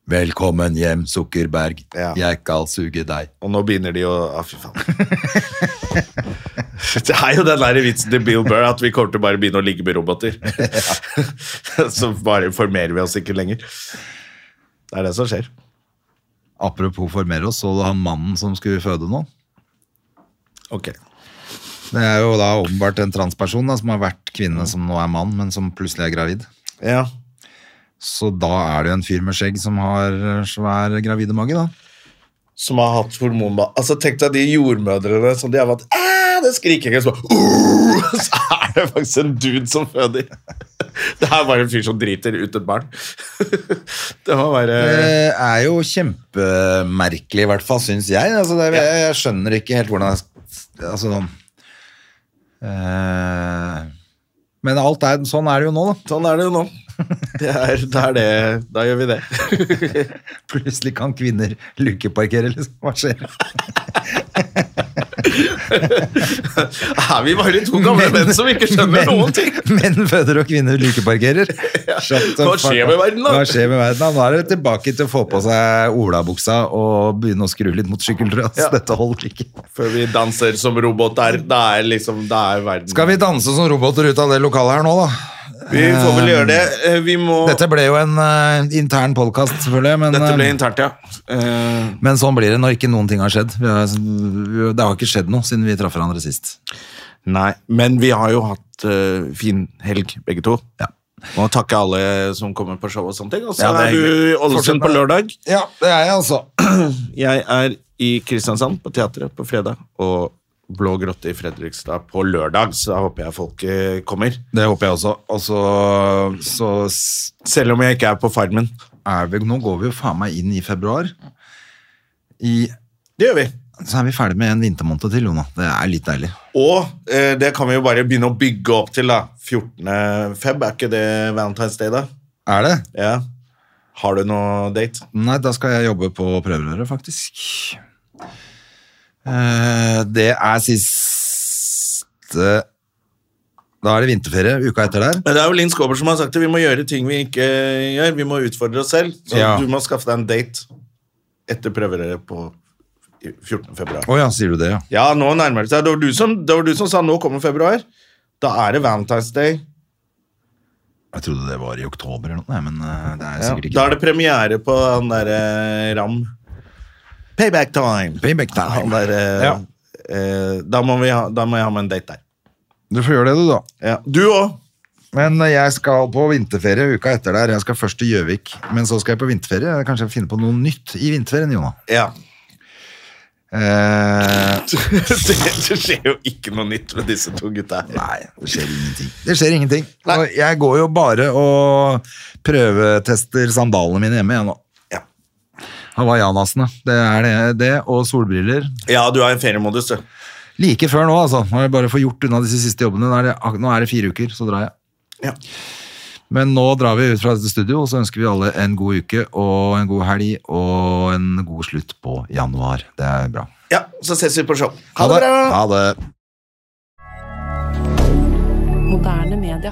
B: Velkommen hjem, Sukkerberg.
A: Ja.
B: Jeg skal suge deg.
A: Og nå begynner de å ah, Fy faen. det er jo den der vitsen til Bill Burr at vi kommer til å bare begynne å ligge med roboter. Så bare formerer vi oss ikke lenger. Det er det som skjer.
B: Apropos formere oss, så du han mannen som skulle føde nå?
A: Ok.
B: Det er jo da åpenbart en transperson da, som har vært kvinne
A: Mm.
B: som nå er mann, men som plutselig er gravid.
A: Ja.
B: Så da er det jo en fyr med skjegg som har eh, svær gravidemage, da.
A: Som har hatt hormonba... Altså, tenk deg de jordmødrene som de har vært «Æ, Det skriker ikke, så bare «Åh!» Så er det faktisk en dude som føder. Det er bare en fyr som driter ut et barn. Det må være
B: Det er jo kjempemerkelig, i hvert fall, syns jeg. Altså, det, jeg. Jeg skjønner ikke helt hvordan jeg Altså sånn eh, Men alt er, sånn er det jo nå, da.
A: Sånn er det jo nå. Det er, det er det. Da gjør vi det.
B: Plutselig kan kvinner lukeparkere, liksom. Hva skjer?
A: Er vi bare to gamle menn som ikke skjønner
B: menn-
A: noen ting?
B: Menn føder og kvinner lukeparkerer. Shut the
A: Hva
B: fuck
A: skjer
B: up.
A: med verden, da?
B: Hva skjer med verden da? Nå er det tilbake til å få på seg olabuksa og begynne å skru litt mot sykkelrød.
A: Ja.
B: Dette holder ikke.
A: Før vi danser som roboter, da er liksom Da er verden
B: Skal vi danse som roboter ut av det lokalet her nå, da?
A: Vi får vel gjøre det. Eh, Vi må
B: Dette ble jo en eh, intern podkast, selvfølgelig. Men,
A: Dette ble
B: eh,
A: internt, ja. Eh,
B: men sånn blir det når ikke noen ting har skjedd. Vi har, vi- det har ikke skjedd noe siden vi traff hverandre sist.
A: Nei, men vi har jo hatt eh, fin helg, begge to.
B: Ja.
A: Må takke alle som kommer på show og sånne ting. Og så
B: Ja, det er
A: er du i Ålesund
B: Fortsett med
A: på lørdag.
B: Ja, det er jeg, altså.
A: Jeg er i Kristiansand på teatret på fredag. Og Blå grotte i Fredrikstad på lørdag, så da håper jeg folk eh, kommer.
B: Det håper jeg også. Og så, så s-
A: Selv om jeg ikke er på Farmen.
B: er vi Nå går vi jo faen meg inn i februar. I,
A: Det gjør vi.
B: så er vi ferdig med en vintermåned til, Jona. Det er litt deilig.
A: Og eh, det kan vi jo bare begynne å bygge opp til, da. 14. feb, er ikke det Valentine's Day, da?
B: Er det?
A: Ja. Har du noe date?
B: Nei, da skal jeg jobbe på prøverøret, faktisk. Eh, Det er siste Da er det vinterferie uka etter der.
A: Men det er jo Linn Skåber som har sagt det. Vi må gjøre ting vi ikke eh, gjør. Vi må utfordre oss selv. Så
B: Ja.
A: du må skaffe deg en date etter prøverøret på i- 14. februar.
B: Å ja, sier du det, ja.
A: Ja, nå nærmer det seg. Det var du som, det var du som sa 'nå kommer februar'. Da er det Valentine's Day.
B: Jeg trodde det var i oktober eller noe, Nei, men eh, det er
A: Ja.
B: sikkert
A: Da
B: ikke
A: er det premiere på den derre Ram. Payback time.
B: Payback
A: Han
B: time.
A: der, eh,
B: Ja.
A: eh, da, må vi ha, da må jeg ha med en date der.
B: Du får gjøre det, du, da.
A: Ja. Du òg.
B: Men eh, jeg skal på vinterferie uka etter der. Jeg skal først til Gjøvik, men så skal jeg på vinterferie. Kanskje jeg finner på noe nytt i vinterferien, Jona.
A: Ja.
B: Eh,
A: det, det skjer jo ikke noe nytt med disse to gutta her.
B: Nei, det skjer ingenting. Det skjer ingenting.
A: Nei.
B: Og jeg går jo bare og prøvetester sandalene mine hjemme igjen nå.
A: Ja.
B: Hawaiianasene. Det er det, det, og solbriller.
A: Ja, du er i feriemodus, du.
B: Like før nå, altså. Nå har jeg bare fått gjort unna disse siste jobbene. Nå er det, ak- nå er det fire uker, så drar jeg.
A: Ja.
B: Men nå drar vi ut fra dette studio, og så ønsker vi alle en god uke og en god helg og en god slutt på januar. Det er bra.
A: Ja, så ses vi på show. Ha det bra!
B: Ha det.
C: Moderne media.